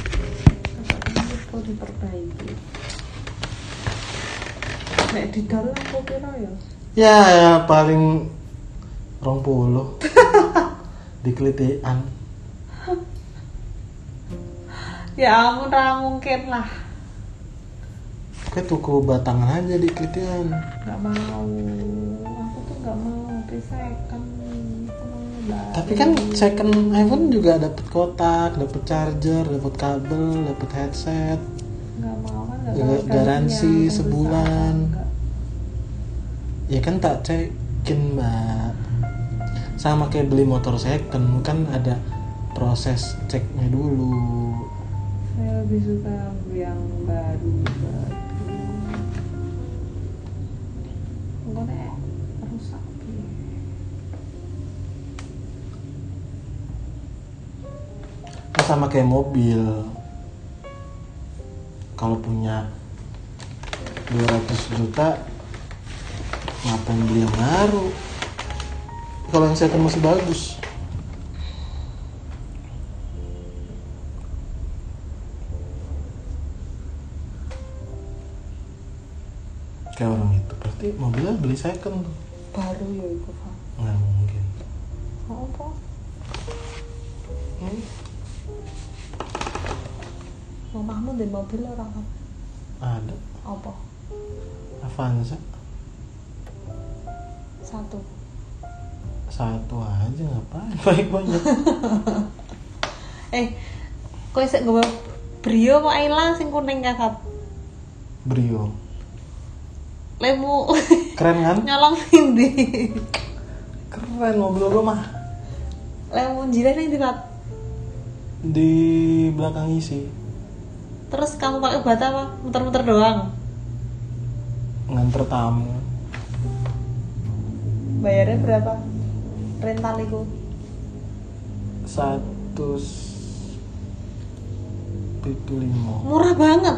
Ini perlu diperbaiki Nek di dalam aku kira ya ya, ya paling rong puluh dikelitian Ya ampun, ra mungkin lah kayak tuku batangan aja dikelitian nggak mau aku tuh nggak mau tapi saya kan tapi kan second iPhone juga dapat kotak dapat charger dapat kabel dapat headset nggak mau kan nggak Ga- tahu garansi gantinya, nggak sebulan. bisa, nggak. ya kan tak cekin mbak sama kayak beli motor second kan ada proses ceknya dulu saya lebih suka yang baru baru enggak deh rusak piye. Nah, sama kayak mobil kalau punya 200 juta ngapain beli yang baru kalau yang second masih bagus kayak orang itu berarti mobilnya beli second tuh. baru ya itu pak nggak mungkin apa Hmm, mamahmu di mobil orang apa ada apa Avanza satu satu aja ngapain baik banyak eh kau isek gue brio mau hilang sing kuning kakap Brio lemu keren kan nyolong sindi keren mobil gue mah lemu jilat yang dikat di belakang isi terus kamu pakai bata apa muter-muter doang nganter tamu bayarnya berapa rental itu satu s- itu limo murah banget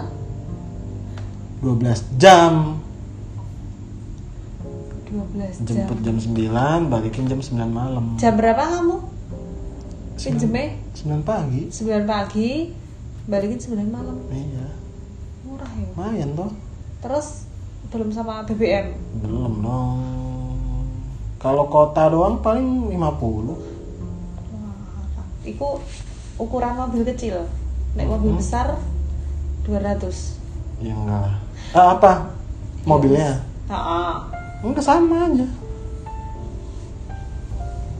12 jam 12 jam jemput jam 9 balikin jam 9 malam jam berapa kamu Sembilan- pinjemnya 9 pagi 9 pagi balikin 9 malam iya murah ya lumayan toh terus belum sama BBM belum dong kalau kota doang paling 50 Iku ukuran mobil kecil. Nek mobil Mhm. besar 200. ya enggak lah Ah, apa mobilnya Heeh. enggak sama aja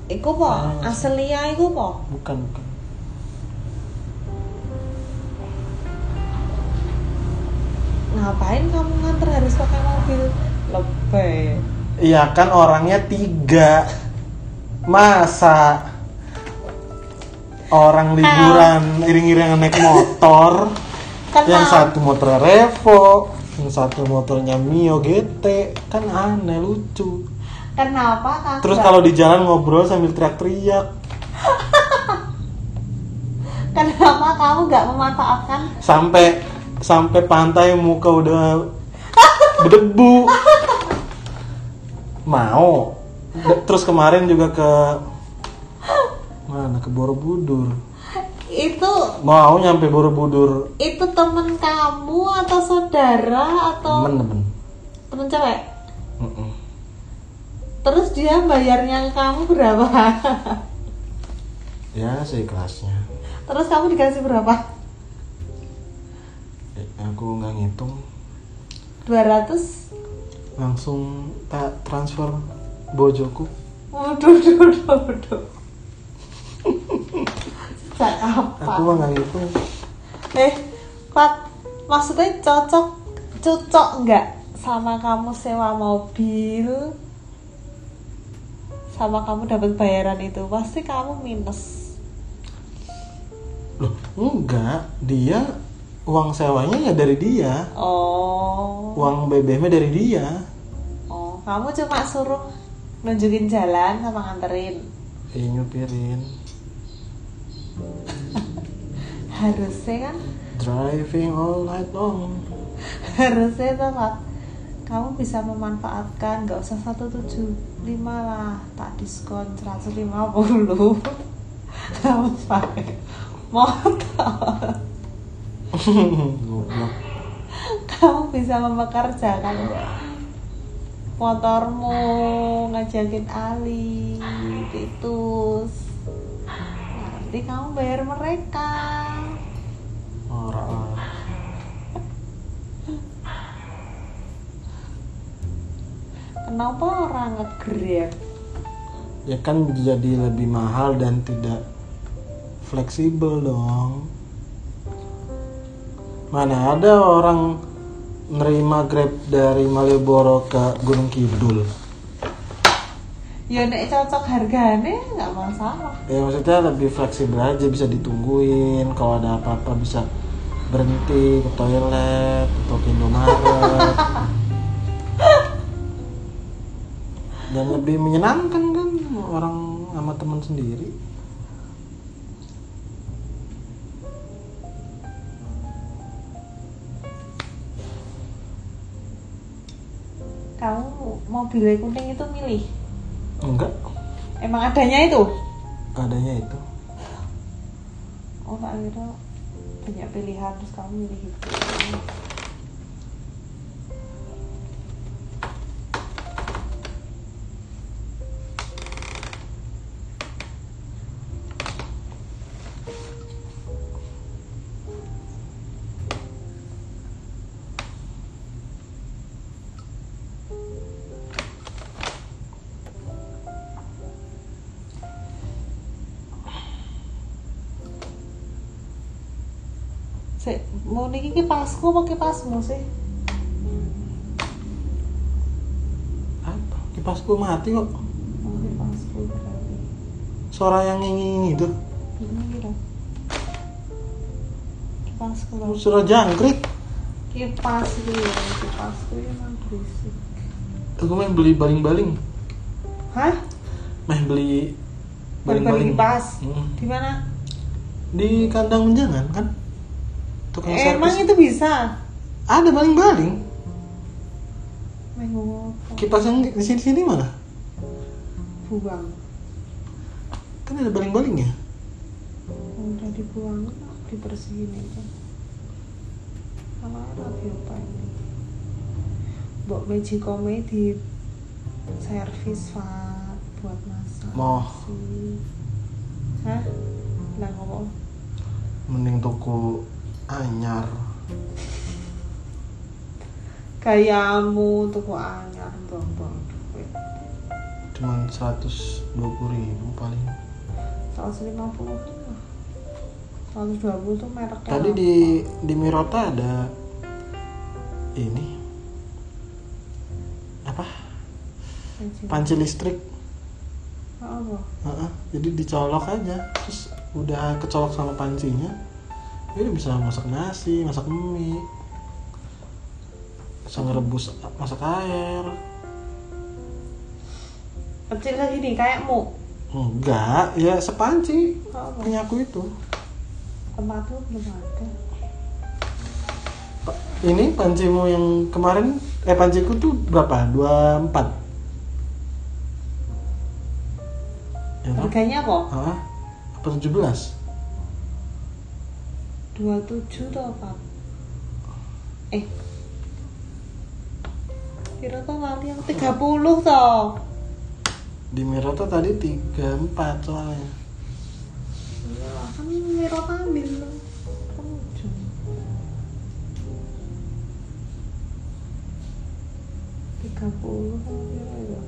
Iku po, Ah. aslinya iku po. bukan bukan Ngapain kamu nganter harus pakai mobil? Lebih. Iya kan orangnya tiga Masa Orang liburan iring-iringan naik motor Kenal. Yang satu motor Revo Yang satu motornya Mio GT Kan aneh lucu Kenapa kakak? Terus kalau di jalan ngobrol sambil teriak-teriak Kenapa kamu nggak memanfaatkan? Sampai sampai pantai muka udah berdebu Mau D- Terus kemarin juga ke Mana ke Borobudur Itu mau nyampe Borobudur itu temen kamu atau saudara atau temen-temen temen cewek? Mm-mm. Terus dia bayarnya ke kamu berapa? ya seikhlasnya Terus kamu dikasih berapa? Eh, aku nggak ngitung 200 langsung tak transfer bojoku Waduh, waduh, waduh, waduh. Sejak aku apa? mah nggak ngitung Eh, Pat, maksudnya cocok, cocok nggak sama kamu sewa mobil? Sama kamu dapat bayaran itu pasti kamu minus. loh enggak dia uang sewanya ya dari dia Oh, uang BBM-nya dari dia oh, kamu cuma suruh nunjukin jalan sama nganterin. eh nyupirin Harusnya kan, driving all night long harusnya tuh Pat, kamu bisa memanfaatkan nggak usah 175 lah tak diskon 150 kamu pakai motor goblok kamu bisa memekerjakan motormu ngajakin Ali titus nanti kamu bayar mereka orang kenapa orang ngegrab ya kan jadi lebih mahal dan tidak fleksibel dong mana ada orang nerima grab dari Malioboro ke Gunung Kidul ya nek cocok harganya nggak masalah ya maksudnya lebih fleksibel aja bisa ditungguin kalau ada apa-apa bisa berhenti ke toilet atau ke Indomaret dan lebih menyenangkan kan orang sama teman sendiri kamu mobilnya kuning itu milih enggak emang adanya itu adanya itu oh tak kira banyak pilihan terus kamu milih itu Sik, mau niki kipasku apa kipasmu sih apa kipas gue mati kok mau kipasku berarti suara yang ini itu ini kira kipasku lah suara jangkrik kipasku ya kipasku ya emang berisik aku main beli baling-baling hah main beli Baling-baling kipas? Mm. di mana di kandang menjangan kan tukang Eh, emang servis itu bisa ada baling-baling minggu kipas yang di sini sini malah buang kan ada baling-balingnya udah dibuang dibersihin itu sama apa apa ini Mbok meji di servis Fat buat masak Moh. sih. Hah? Lah ngomong mending toko anyar gayamu tuku anyar buang-buang duit cuman 120 ribu paling 150 120 tuh mereknya tadi apa? di di Mirota ada ini apa Meji. panci listrik apa Heeh, jadi dicolok aja terus udah kecolok sama pancinya jadi bisa masak nasi masak mie bisa ngerebus masak air kecil lagi nih kayakmu enggak ya sepanci apa punya aku itu tempat tuh belum ada ini pancimu yang kemarin eh panciku tuh berapa 24 ya kan? harganya kok Hah? apa 17 27 tuh apa? Eh Kira tuh nanti yang 30 toh di Mirota tadi 34 soalnya Iya kan Miro ambil Pengunjung. Tiga puluh kan Miro ya.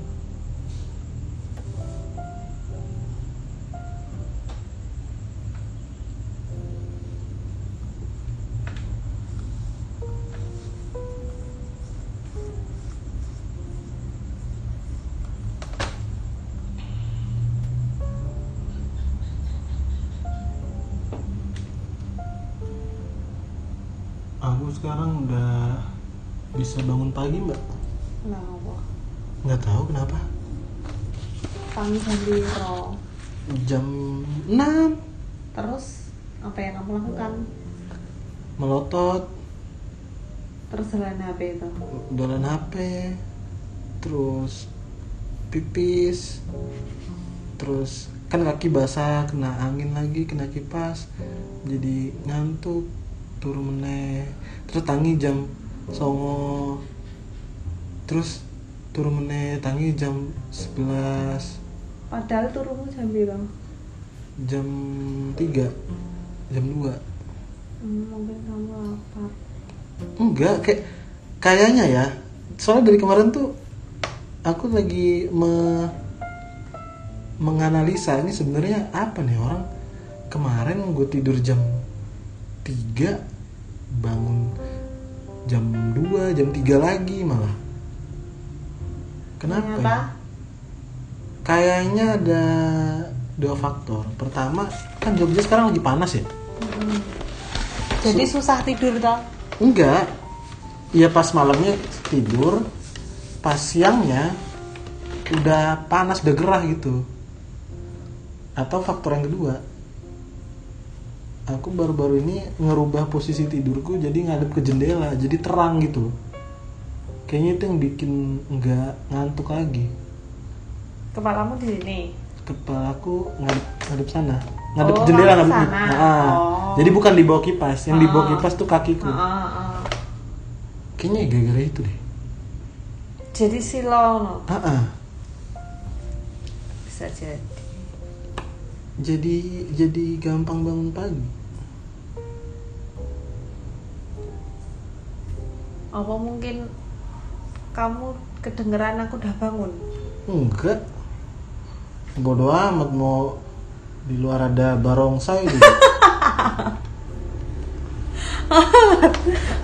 aku sekarang udah bisa bangun pagi mbak Nah apa? nggak tahu kenapa Kami sendiro jam 6 Terus apa yang kamu lakukan? melotot Terus jalan HP itu jalan HP terus pipis terus kan kaki basah kena angin lagi kena kipas jadi ngantuk turun meneh terus tangi jam songo terus turun meneh tangi jam 11 Padahal turunmu jam bilang jam 3 jam 2 hmm, Mungkin kamu lapar enggak kayak kayaknya ya soalnya dari kemarin tuh aku lagi me, menganalisa ini sebenarnya apa nih orang kemarin gue tidur jam 3 bangun jam 2 jam 3 lagi malah kenapa Ternyata? ya? kayaknya ada dua faktor pertama kan Jogja sekarang lagi panas ya Hmm. Jadi susah tidur toh Enggak. Ya pas malamnya tidur, pas siangnya udah panas, udah gerah gitu. Atau faktor yang kedua, aku baru-baru ini ngerubah posisi tidurku jadi ngadep ke jendela, jadi terang gitu. Kayaknya itu yang bikin nggak ngantuk lagi. Kepalamu di sini. Kepalaku ngadep, ngadep sana, ngadep Oh, jendela ngadep ngadep. sana. Nah, Oh. Jadi bukan di bawah kipas, yang di bawah Ah. kipas tuh kakiku. Heeh, heeh. Kayaknya ya gara-gara itu deh. Ah, Jadi silau no. Heeh. bisa jadi. jadi jadi gampang bangun pagi Apa mungkin kamu kedengeran aku udah bangun? enggak bodoh amat mau di luar ada barongsai juga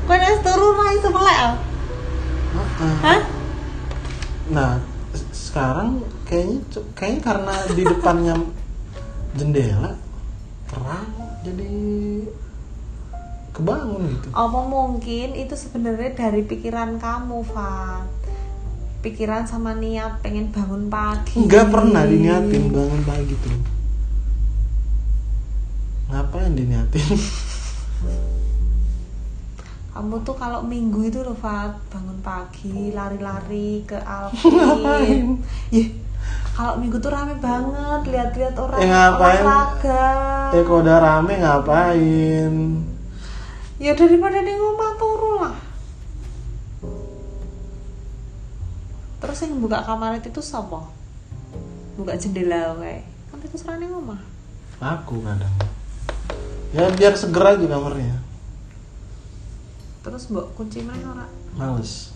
Kau nes turun main sebelah. ah? Heeh. Hah? nah se- sekarang kayaknya cu- kayaknya karena di depannya jendela terang jadi kebangun gitu Apa mungkin itu sebenarnya dari pikiran kamu, Fat? Pikiran sama niat pengen bangun pagi. enggak pernah diniatin bangun pagi tuh ngapain diniatin kamu tuh kalau minggu itu loh Fat bangun Oh. pagi lari-lari ke Alvin Ih, kalau minggu tuh rame banget lihat-lihat orang Ya, ngapain? olahraga Eh kalau udah rame ngapain? ya daripada di rumah turu lah terus yang buka kamar itu sopo buka jendela wae kan itu serang di rumah Aku kadang. Ya biar segera aja kamarnya. terus mbok kunci mana ora Males.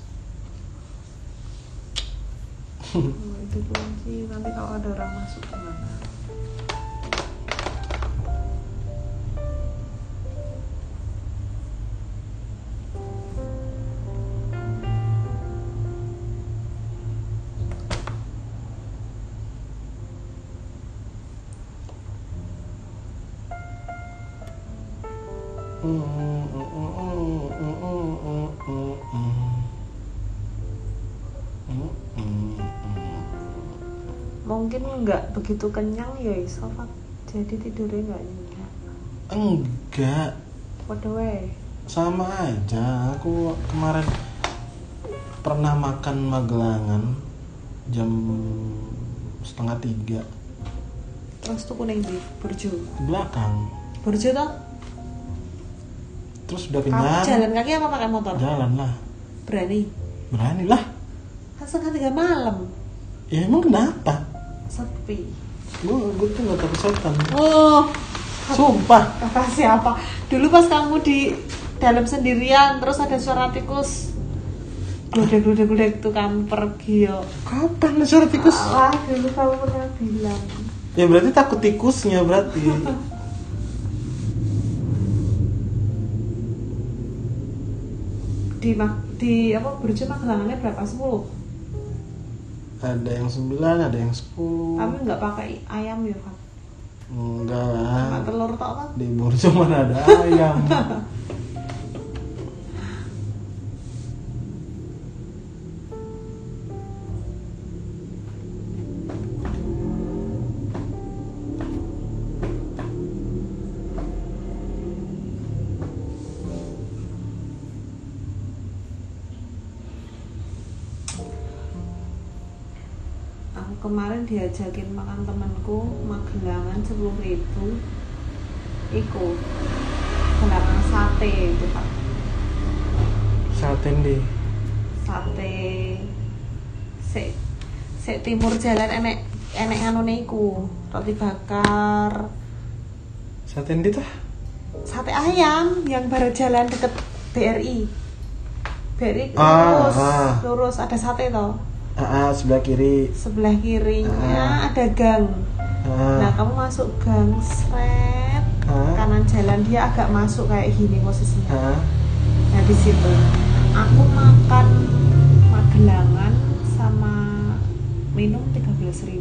Hmm. Oh, itu kunci nanti kalau ada orang masuk gimana mungkin nggak begitu kenyang ya iso Fat. jadi tidurnya nggak nyenyak Enggak, waduh wae sama aja. Aku kemarin pernah makan magelangan jam setengah tiga terus tuh kuning di burjo ke belakang. burjo toh Terus udah kamu pindah, jalan kaki apa pakai motor jalan lah, berani berani lah. kan setengah tiga malam Ya emang kenapa? sepi Gue gue tuh nggak takut setan. oh Sumpah. kata siapa dulu pas kamu di dalam sendirian terus ada suara tikus gludek gludek gludek tuh kamu pergi yo Kapan ada suara tikus? ah dulu kamu pernah bilang Ya berarti takut tikusnya berarti. di Mag- di apa burjo magelangannya berapa 10 ada yang 9, ada yang 10. kamu nggak pakai ayam ya Fat? Enggak Makan lah. telur tok kan? Di Borjo mana ada ayam. Aku kemarin diajakin makan temanku magelangan sepuluh ribu. Iku gelangan sate itu pak. Salting deh. Sate se se timur jalan enek enek anu iku roti bakar Salting deh tuh. sate ayam yang baru jalan deket BRI BRI Ah, lurus ah. lurus ada sate toh Ah, ah, sebelah kiri. sebelah kirinya ada gang Nah, Ah, kamu masuk gang seret ah, kanan jalan dia agak masuk kayak gini posisinya. ah. Nah, di situ aku makan magelangan sama minum 13.000.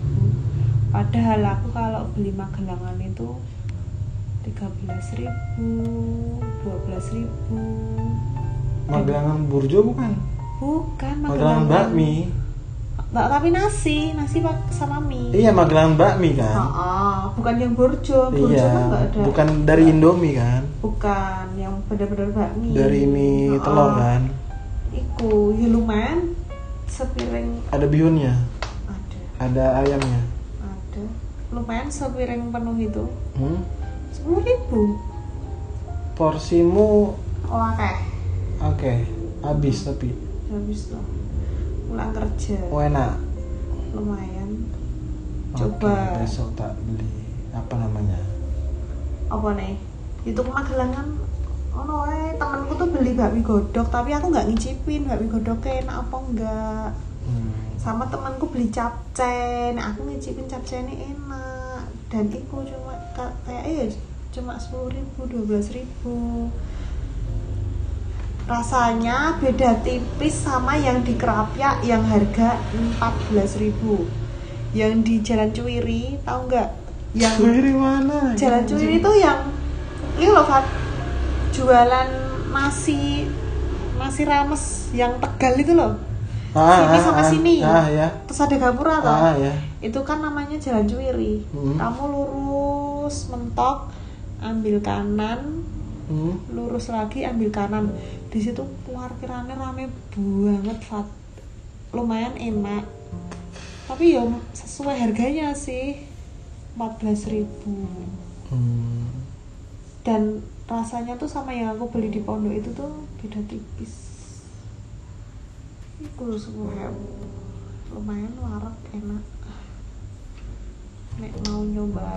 Padahal aku kalau beli magelangan itu 13.000, 12.000. Magelangan Burjo bukan? Bukan Magelangan bakmi. Mbak, tapi nasi, nasi pak- sama mie. Iya, Magelangan bakmi kan. Ah, bukan yang burjo, burjo kan Iya, nggak ada. bukan dari Indomie kan? bukan yang benar-benar bakmi Dari mie Heeh. telur kan. iku ya lumayan sepiring Ada bihunnya, ada ada ayamnya. ada lumayan sepiring penuh itu Hmm? sepuluh ribu Porsimu olah teh oke, habis tapi habis tuh pulang kerja oh enak. lumayan Oke, Coba. besok tak beli apa namanya? apa nih itu kemagelangan oh no, temanku tuh beli bakmi godok tapi aku nggak ngicipin bakmi godoknya enak apa enggak Hmm. sama temanku beli capcay nah, aku ngicipin capcay ini enak dan itu cuma ka- kayak eh cuma sepuluh ribu dua ribu rasanya beda tipis sama yang di Kerapyak yang harga 14.000 yang di Jalan Cuiri tahu nggak yang Cuiri mana? Jalan Cuiri itu yang ini loh Fat jualan nasi nasi rames yang tegal itu loh sini sama sini. Ah ya. terus ada gapura toh Ah ya. itu kan namanya jalan cuwiri Hmm. kamu lurus mentok ambil kanan Hmm. lurus lagi ambil kanan di situ parkirannya rame banget Fat. lumayan enak tapi ya sesuai harganya sih 14.000 Hmm. dan rasanya tuh sama yang aku beli di pondok itu tuh beda tipis ini kurus banget. lumayan warak enak nek mau nyoba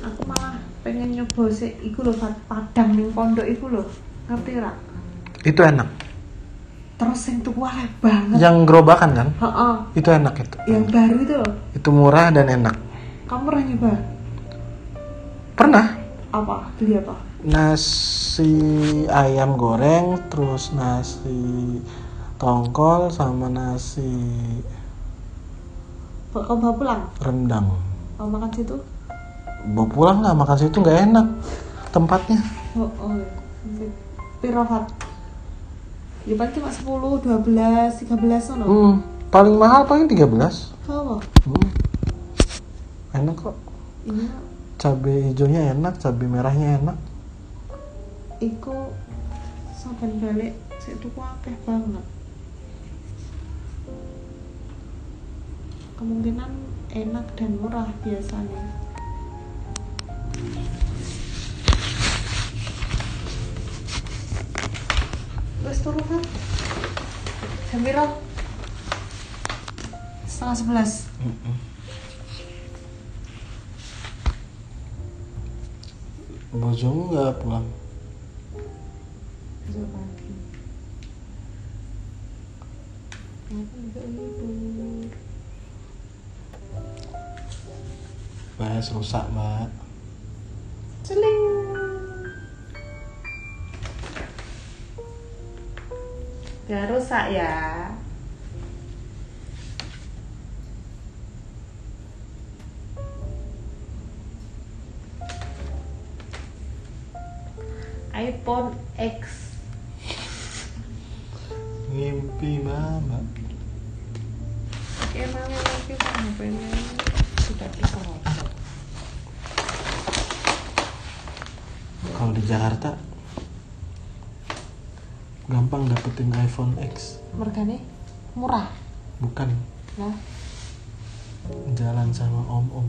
aku malah pengen nyoba sih iku loh Fat. padang ning pondok iku loh ngerti ra Itu enak. terus yang tua banget Yang gerobakan kan? Heeh. Itu enak itu. yang baru itu loh Itu murah dan enak. kamu pernah nyoba Pernah apa beli apa nasi ayam goreng, terus nasi tongkol sama nasi kamu bawa pulang rendang. kamu makan situ Bawa pulang lah makan situ nggak enak tempatnya. Oh, oh. Piro Fat? Ya paling cuma 10, 12, 13 ono. Hmm, paling mahal paling 13. Kamu? Hmm. Enak kok. Iya, Cabai hijaunya enak, cabai merahnya enak. iku sampean balik sik tuku akeh banget. Kemungkinan enak dan murah biasanya. Wes turu kan? Jam piro? Setengah sebelas. Bojomu nggak pulang. besok pagi aku juga libur Bahas rusak, Mbak. celing gak rusak ya iPhone X Mimpi Mama. Emangnya nanti kamu pengen sudah disorot. Kalau di Jakarta gampang dapetin iPhone X. Mergane murah. Bukan Nah, jalan sama om-om.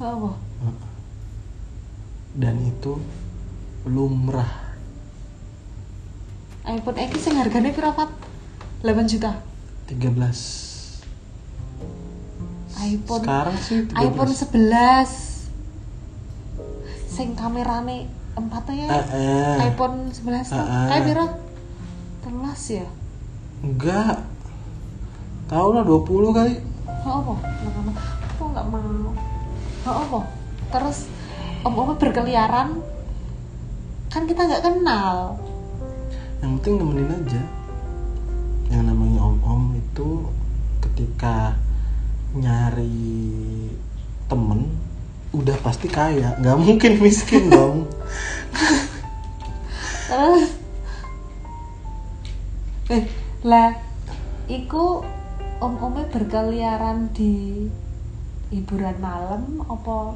apa? Heeh. Dan itu lumrah. iPhone X yang harganya berapa? 8 juta. 13. iPhone Sekarang sih 13. iPhone 11. Sing kamerane empatnya Eh, eh. iPhone 11 tuh. Ah, ah. Kayak piro? 13 ya. Enggak. Tahu lah 20 kali. Ha apa? Lama-lama aku nggak mau. Ha apa? Terus om-om berkeliaran kan kita nggak kenal. Yang penting nemenin aja. Yang namanya om-om itu ketika nyari temen udah pasti kaya, nggak mungkin miskin dong. terus eh lah iku om omnya berkeliaran di hiburan malam apa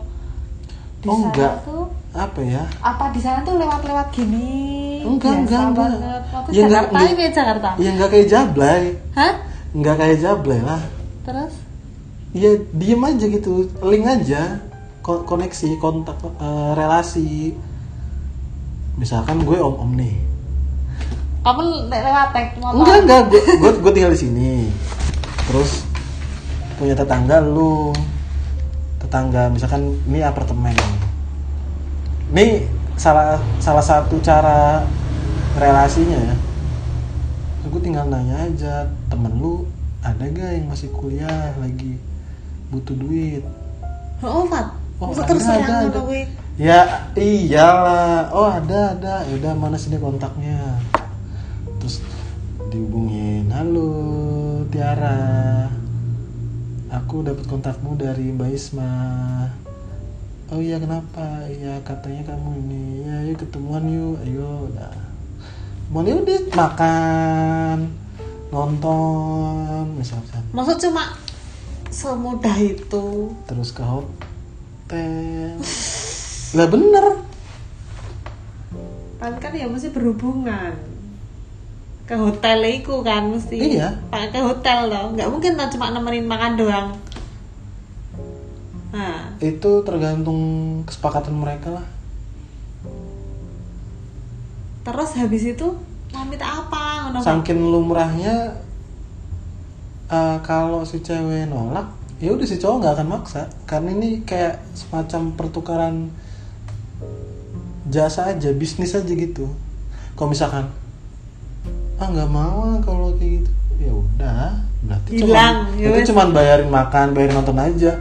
di Oh, sana enggak. tuh Apa ya? apa di sana tuh lewat-lewat gini Enggak, enggak, enggak. banget Waktu Ya, enggak, Jakarta enggak. ini ya Jakarta Ya nggak kayak jablay, hah nggak kayak jablay lah. terus Ya diem aja gitu, link aja, Ko- koneksi, kontak, eh, relasi. Misalkan gue om-om nih, kamu le- lewat tek motor enggak enggak gue gue gue tinggal di sini terus punya tetangga lu tetangga misalkan ini apartemen ini salah salah satu cara relasinya ya Terus gue tinggal nanya aja temen lu ada gak yang masih kuliah lagi butuh duit oh Fat Oh, Masa ada, terus terang ada, sama ada. gue ya iyalah oh ada ada udah mana sini kontaknya terus dihubungin halo Tiara aku dapat kontakmu dari Mbak Isma oh iya kenapa iya katanya kamu ini ya yuk ketemuan yuk ayo udah mau nih udah makan nonton misalkan maksud cuma semudah itu terus ke hot hotel lah bener Tapi kan ya mesti berhubungan ke hotel iku kan mesti Iya. Pak, ke hotel loh nggak mungkin toh cuma nemenin makan doang nah itu tergantung kesepakatan mereka lah terus habis itu pamit apa ngono Pak? saking lumrahnya eh, kalau si cewek nolak ya udah si cowok nggak akan maksa karena ini kayak semacam pertukaran jasa aja bisnis aja gitu kalau misalkan ah nggak mau ah kalau kayak gitu ya udah berarti Hilang, cuman ya itu wes. cuman bayarin makan bayarin nonton aja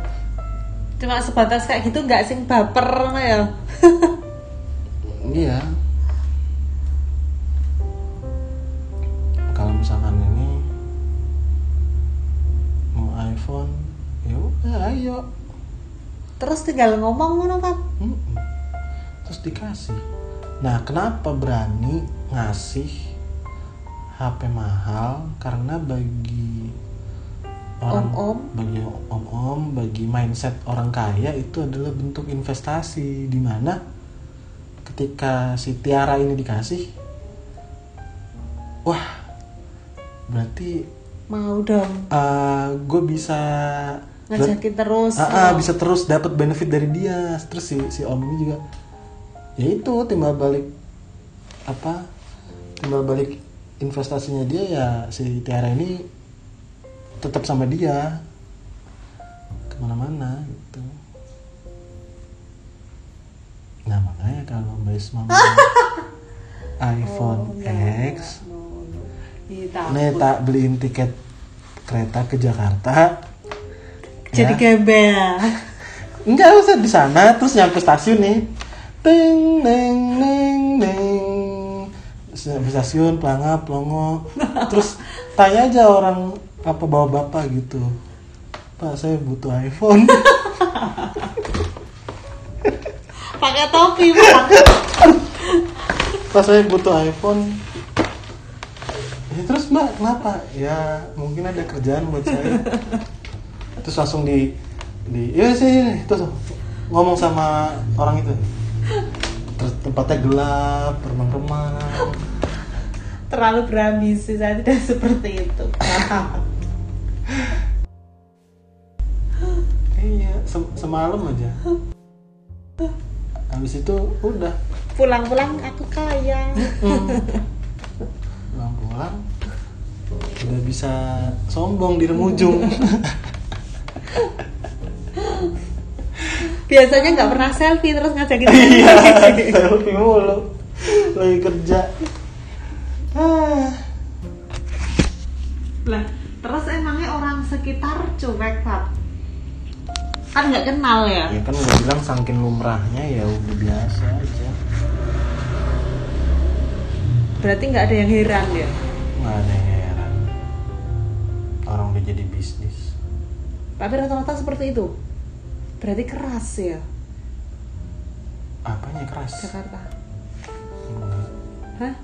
cuma sebatas kayak gitu nggak sing baper ngono ya iya kalau misalkan ini mau iPhone ya udah ayo terus tinggal ngomong ngono kan Mm-mm. terus dikasih nah kenapa berani ngasih HP mahal karena bagi orang Om-om. bagi om-om bagi mindset orang kaya itu adalah bentuk investasi dimana ketika si Tiara ini dikasih wah berarti mau dong gue bisa ngajakin terus Ah, ah, ngono. bisa terus dapat benefit dari dia. Terus si si Om ini juga ya itu timbal balik apa? Timbal balik investasinya dia ya si Tiara ini tetap sama dia kemana-mana gitu. Nah makanya kalau Mbak Isma mau Oh, iPhone nggak, X, nggak mau. Ih, takut. nih tak beliin tiket kereta ke Jakarta, jadi ya. gembel Enggak usah di sana terus nyampe stasiun nih. Ting neng neng neng. Terus Nyampe stasiun pelangap pelongo. Terus tanya aja orang apa bawa bapak gitu. Pak saya butuh iPhone. pakai topi pak Pak saya butuh iPhone. Ya, terus mbak kenapa? Ya mungkin ada kerjaan buat saya. Terus langsung di di ya sih terus ngomong sama orang itu. Terus tempatnya gelap, remang-remang. terlalu berambisi saya tidak seperti itu Iya, se- semalam aja. Habis itu udah pulang-pulang aku kaya pulang-pulang udah bisa sombong di remujung. biasanya nggak pernah selfie terus ngajakin iya selfie selfie mulu lagi kerja ah lah terus emangnya orang sekitar cuek pak kan nggak kenal ya ya kan gue bilang saking lumrahnya ya udah biasa aja berarti nggak ada yang heran ya nggak ada yang heran orang udah jadi bisnis tapi rata-rata seperti itu berarti keras ya apanya keras Jakarta Enggak. hah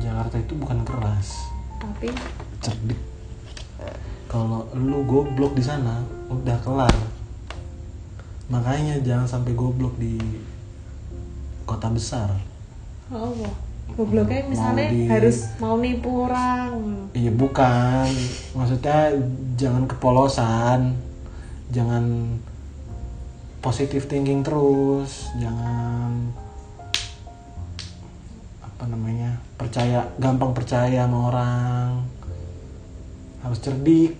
Jakarta itu bukan keras tapi cerdik kalau lu goblok di sana udah kelar makanya jangan sampai goblok di kota besar oh Allah. Mau gobloknya misalnya di- harus mau nipu orang Iya bukan, maksudnya jangan kepolosan, jangan positive thinking terus, jangan apa namanya percaya gampang percaya sama orang, harus cerdik.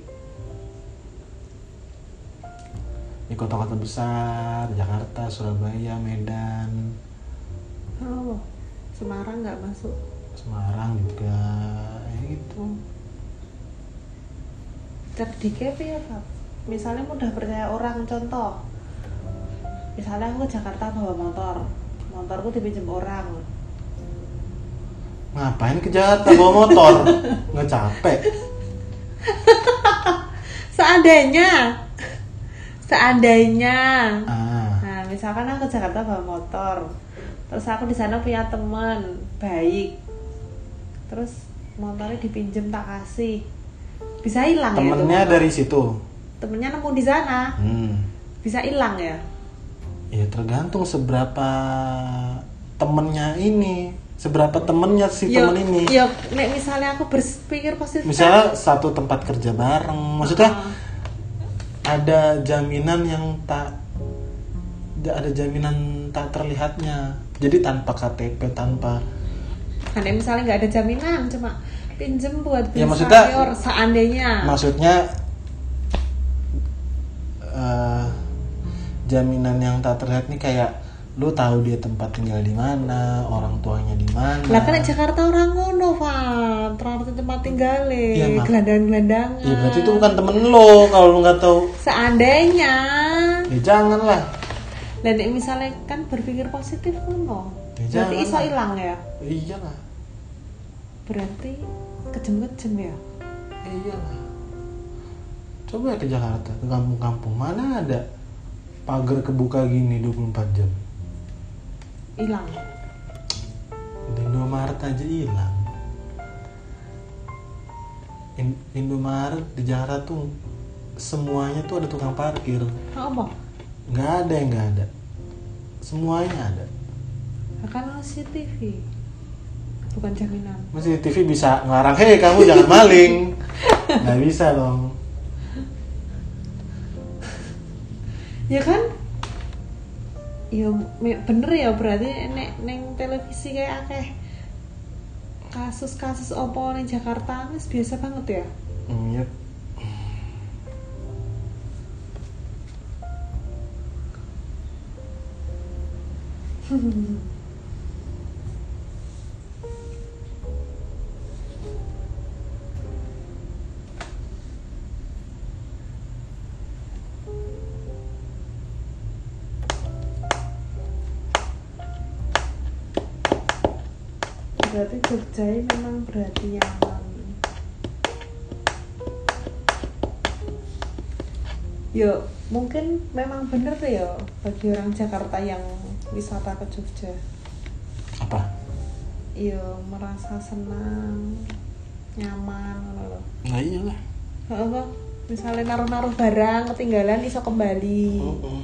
Di kota-kota besar, Jakarta, Surabaya, Medan, oh Allah. Semarang nggak masuk Semarang juga, ya gitu. cerdiknya piye ya, Pak? misalnya mudah percaya orang contoh misalnya aku ke Jakarta bawa motor motorku dipinjam orang Ngapain ke Jakarta bawa motor? Nggak capek. seandainya seandainya Ah, nah misalkan aku ke Jakarta bawa motor terus aku di sana punya teman baik terus motornya dipinjam tak kasih bisa hilang ya itu temennya motor? dari situ. temennya nemu di sana Hmm. bisa hilang ya ya tergantung seberapa temennya ini seberapa temennya si Yo, temen ini yo, nek misalnya aku berpikir positif. misalnya satu tempat kerja bareng maksudnya ada jaminan yang tak ada jaminan tak terlihatnya jadi tanpa KTP tanpa Nah, nek misalnya nggak ada jaminan, cuma pinjem buat beli Ya, maksudnya- sayur seandainya. maksudnya eh, jaminan yang tak terlihat nih kayak lu tahu dia tempat tinggal di mana orang tuanya di mana Lah kan nek Jakarta orang ngono, Van. Terlalu tempat tinggale, Iya, Mak. gelandang-gelandangan. ya berarti itu bukan temen lo kalau lu nggak tahu Seandainya. ya janganlah Lah nek misalnya kan berpikir positif ngono. Ya, berarti jangan iso lah. hilang ya. iyalah Berarti kejem-kejem ya. iyalah coba ya ke Jakarta ke kampung-kampung mana ada pagar kebuka gini 24 jam Hilang. Di Indomaret aja hilang In- Indomaret di Jakarta tuh semuanya tuh ada tukang parkir Apa? nggak ada yang nggak ada semuanya ada Akan CCTV. Bukan jaminan. masih TV bisa ngelarang hei kamu jangan maling nggak bisa dong ya kan ya me- bener ya berarti nek neng televisi kayak akeh kasus-kasus opo neng Jakarta wis biasa banget ya Hmm, yep. berarti Jogja ini memang berarti yang ya mungkin memang bener tuh ya bagi orang Jakarta yang wisata ke Jogja apa ya merasa senang nyaman ngono loh nggak iyalah apa misalnya naruh-naruh barang ketinggalan iso kembali Mm-mm.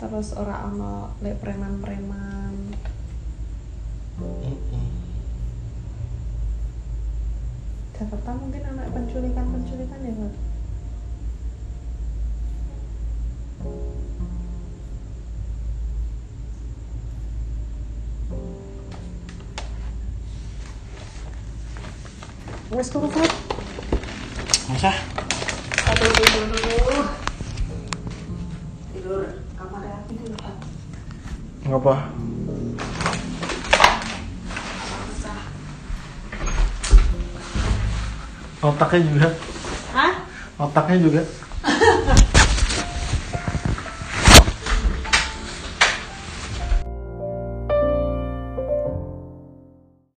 terus ora ono lek preman-preman Mm-mm. Jakarta mungkin anak penculikan-penculikan ya Pak? Wes turu Pak. masa Aduh, aduh, aduh, aduh. Tidur. Kamar ya, tidur. nggak apa otaknya juga Hah? otaknya juga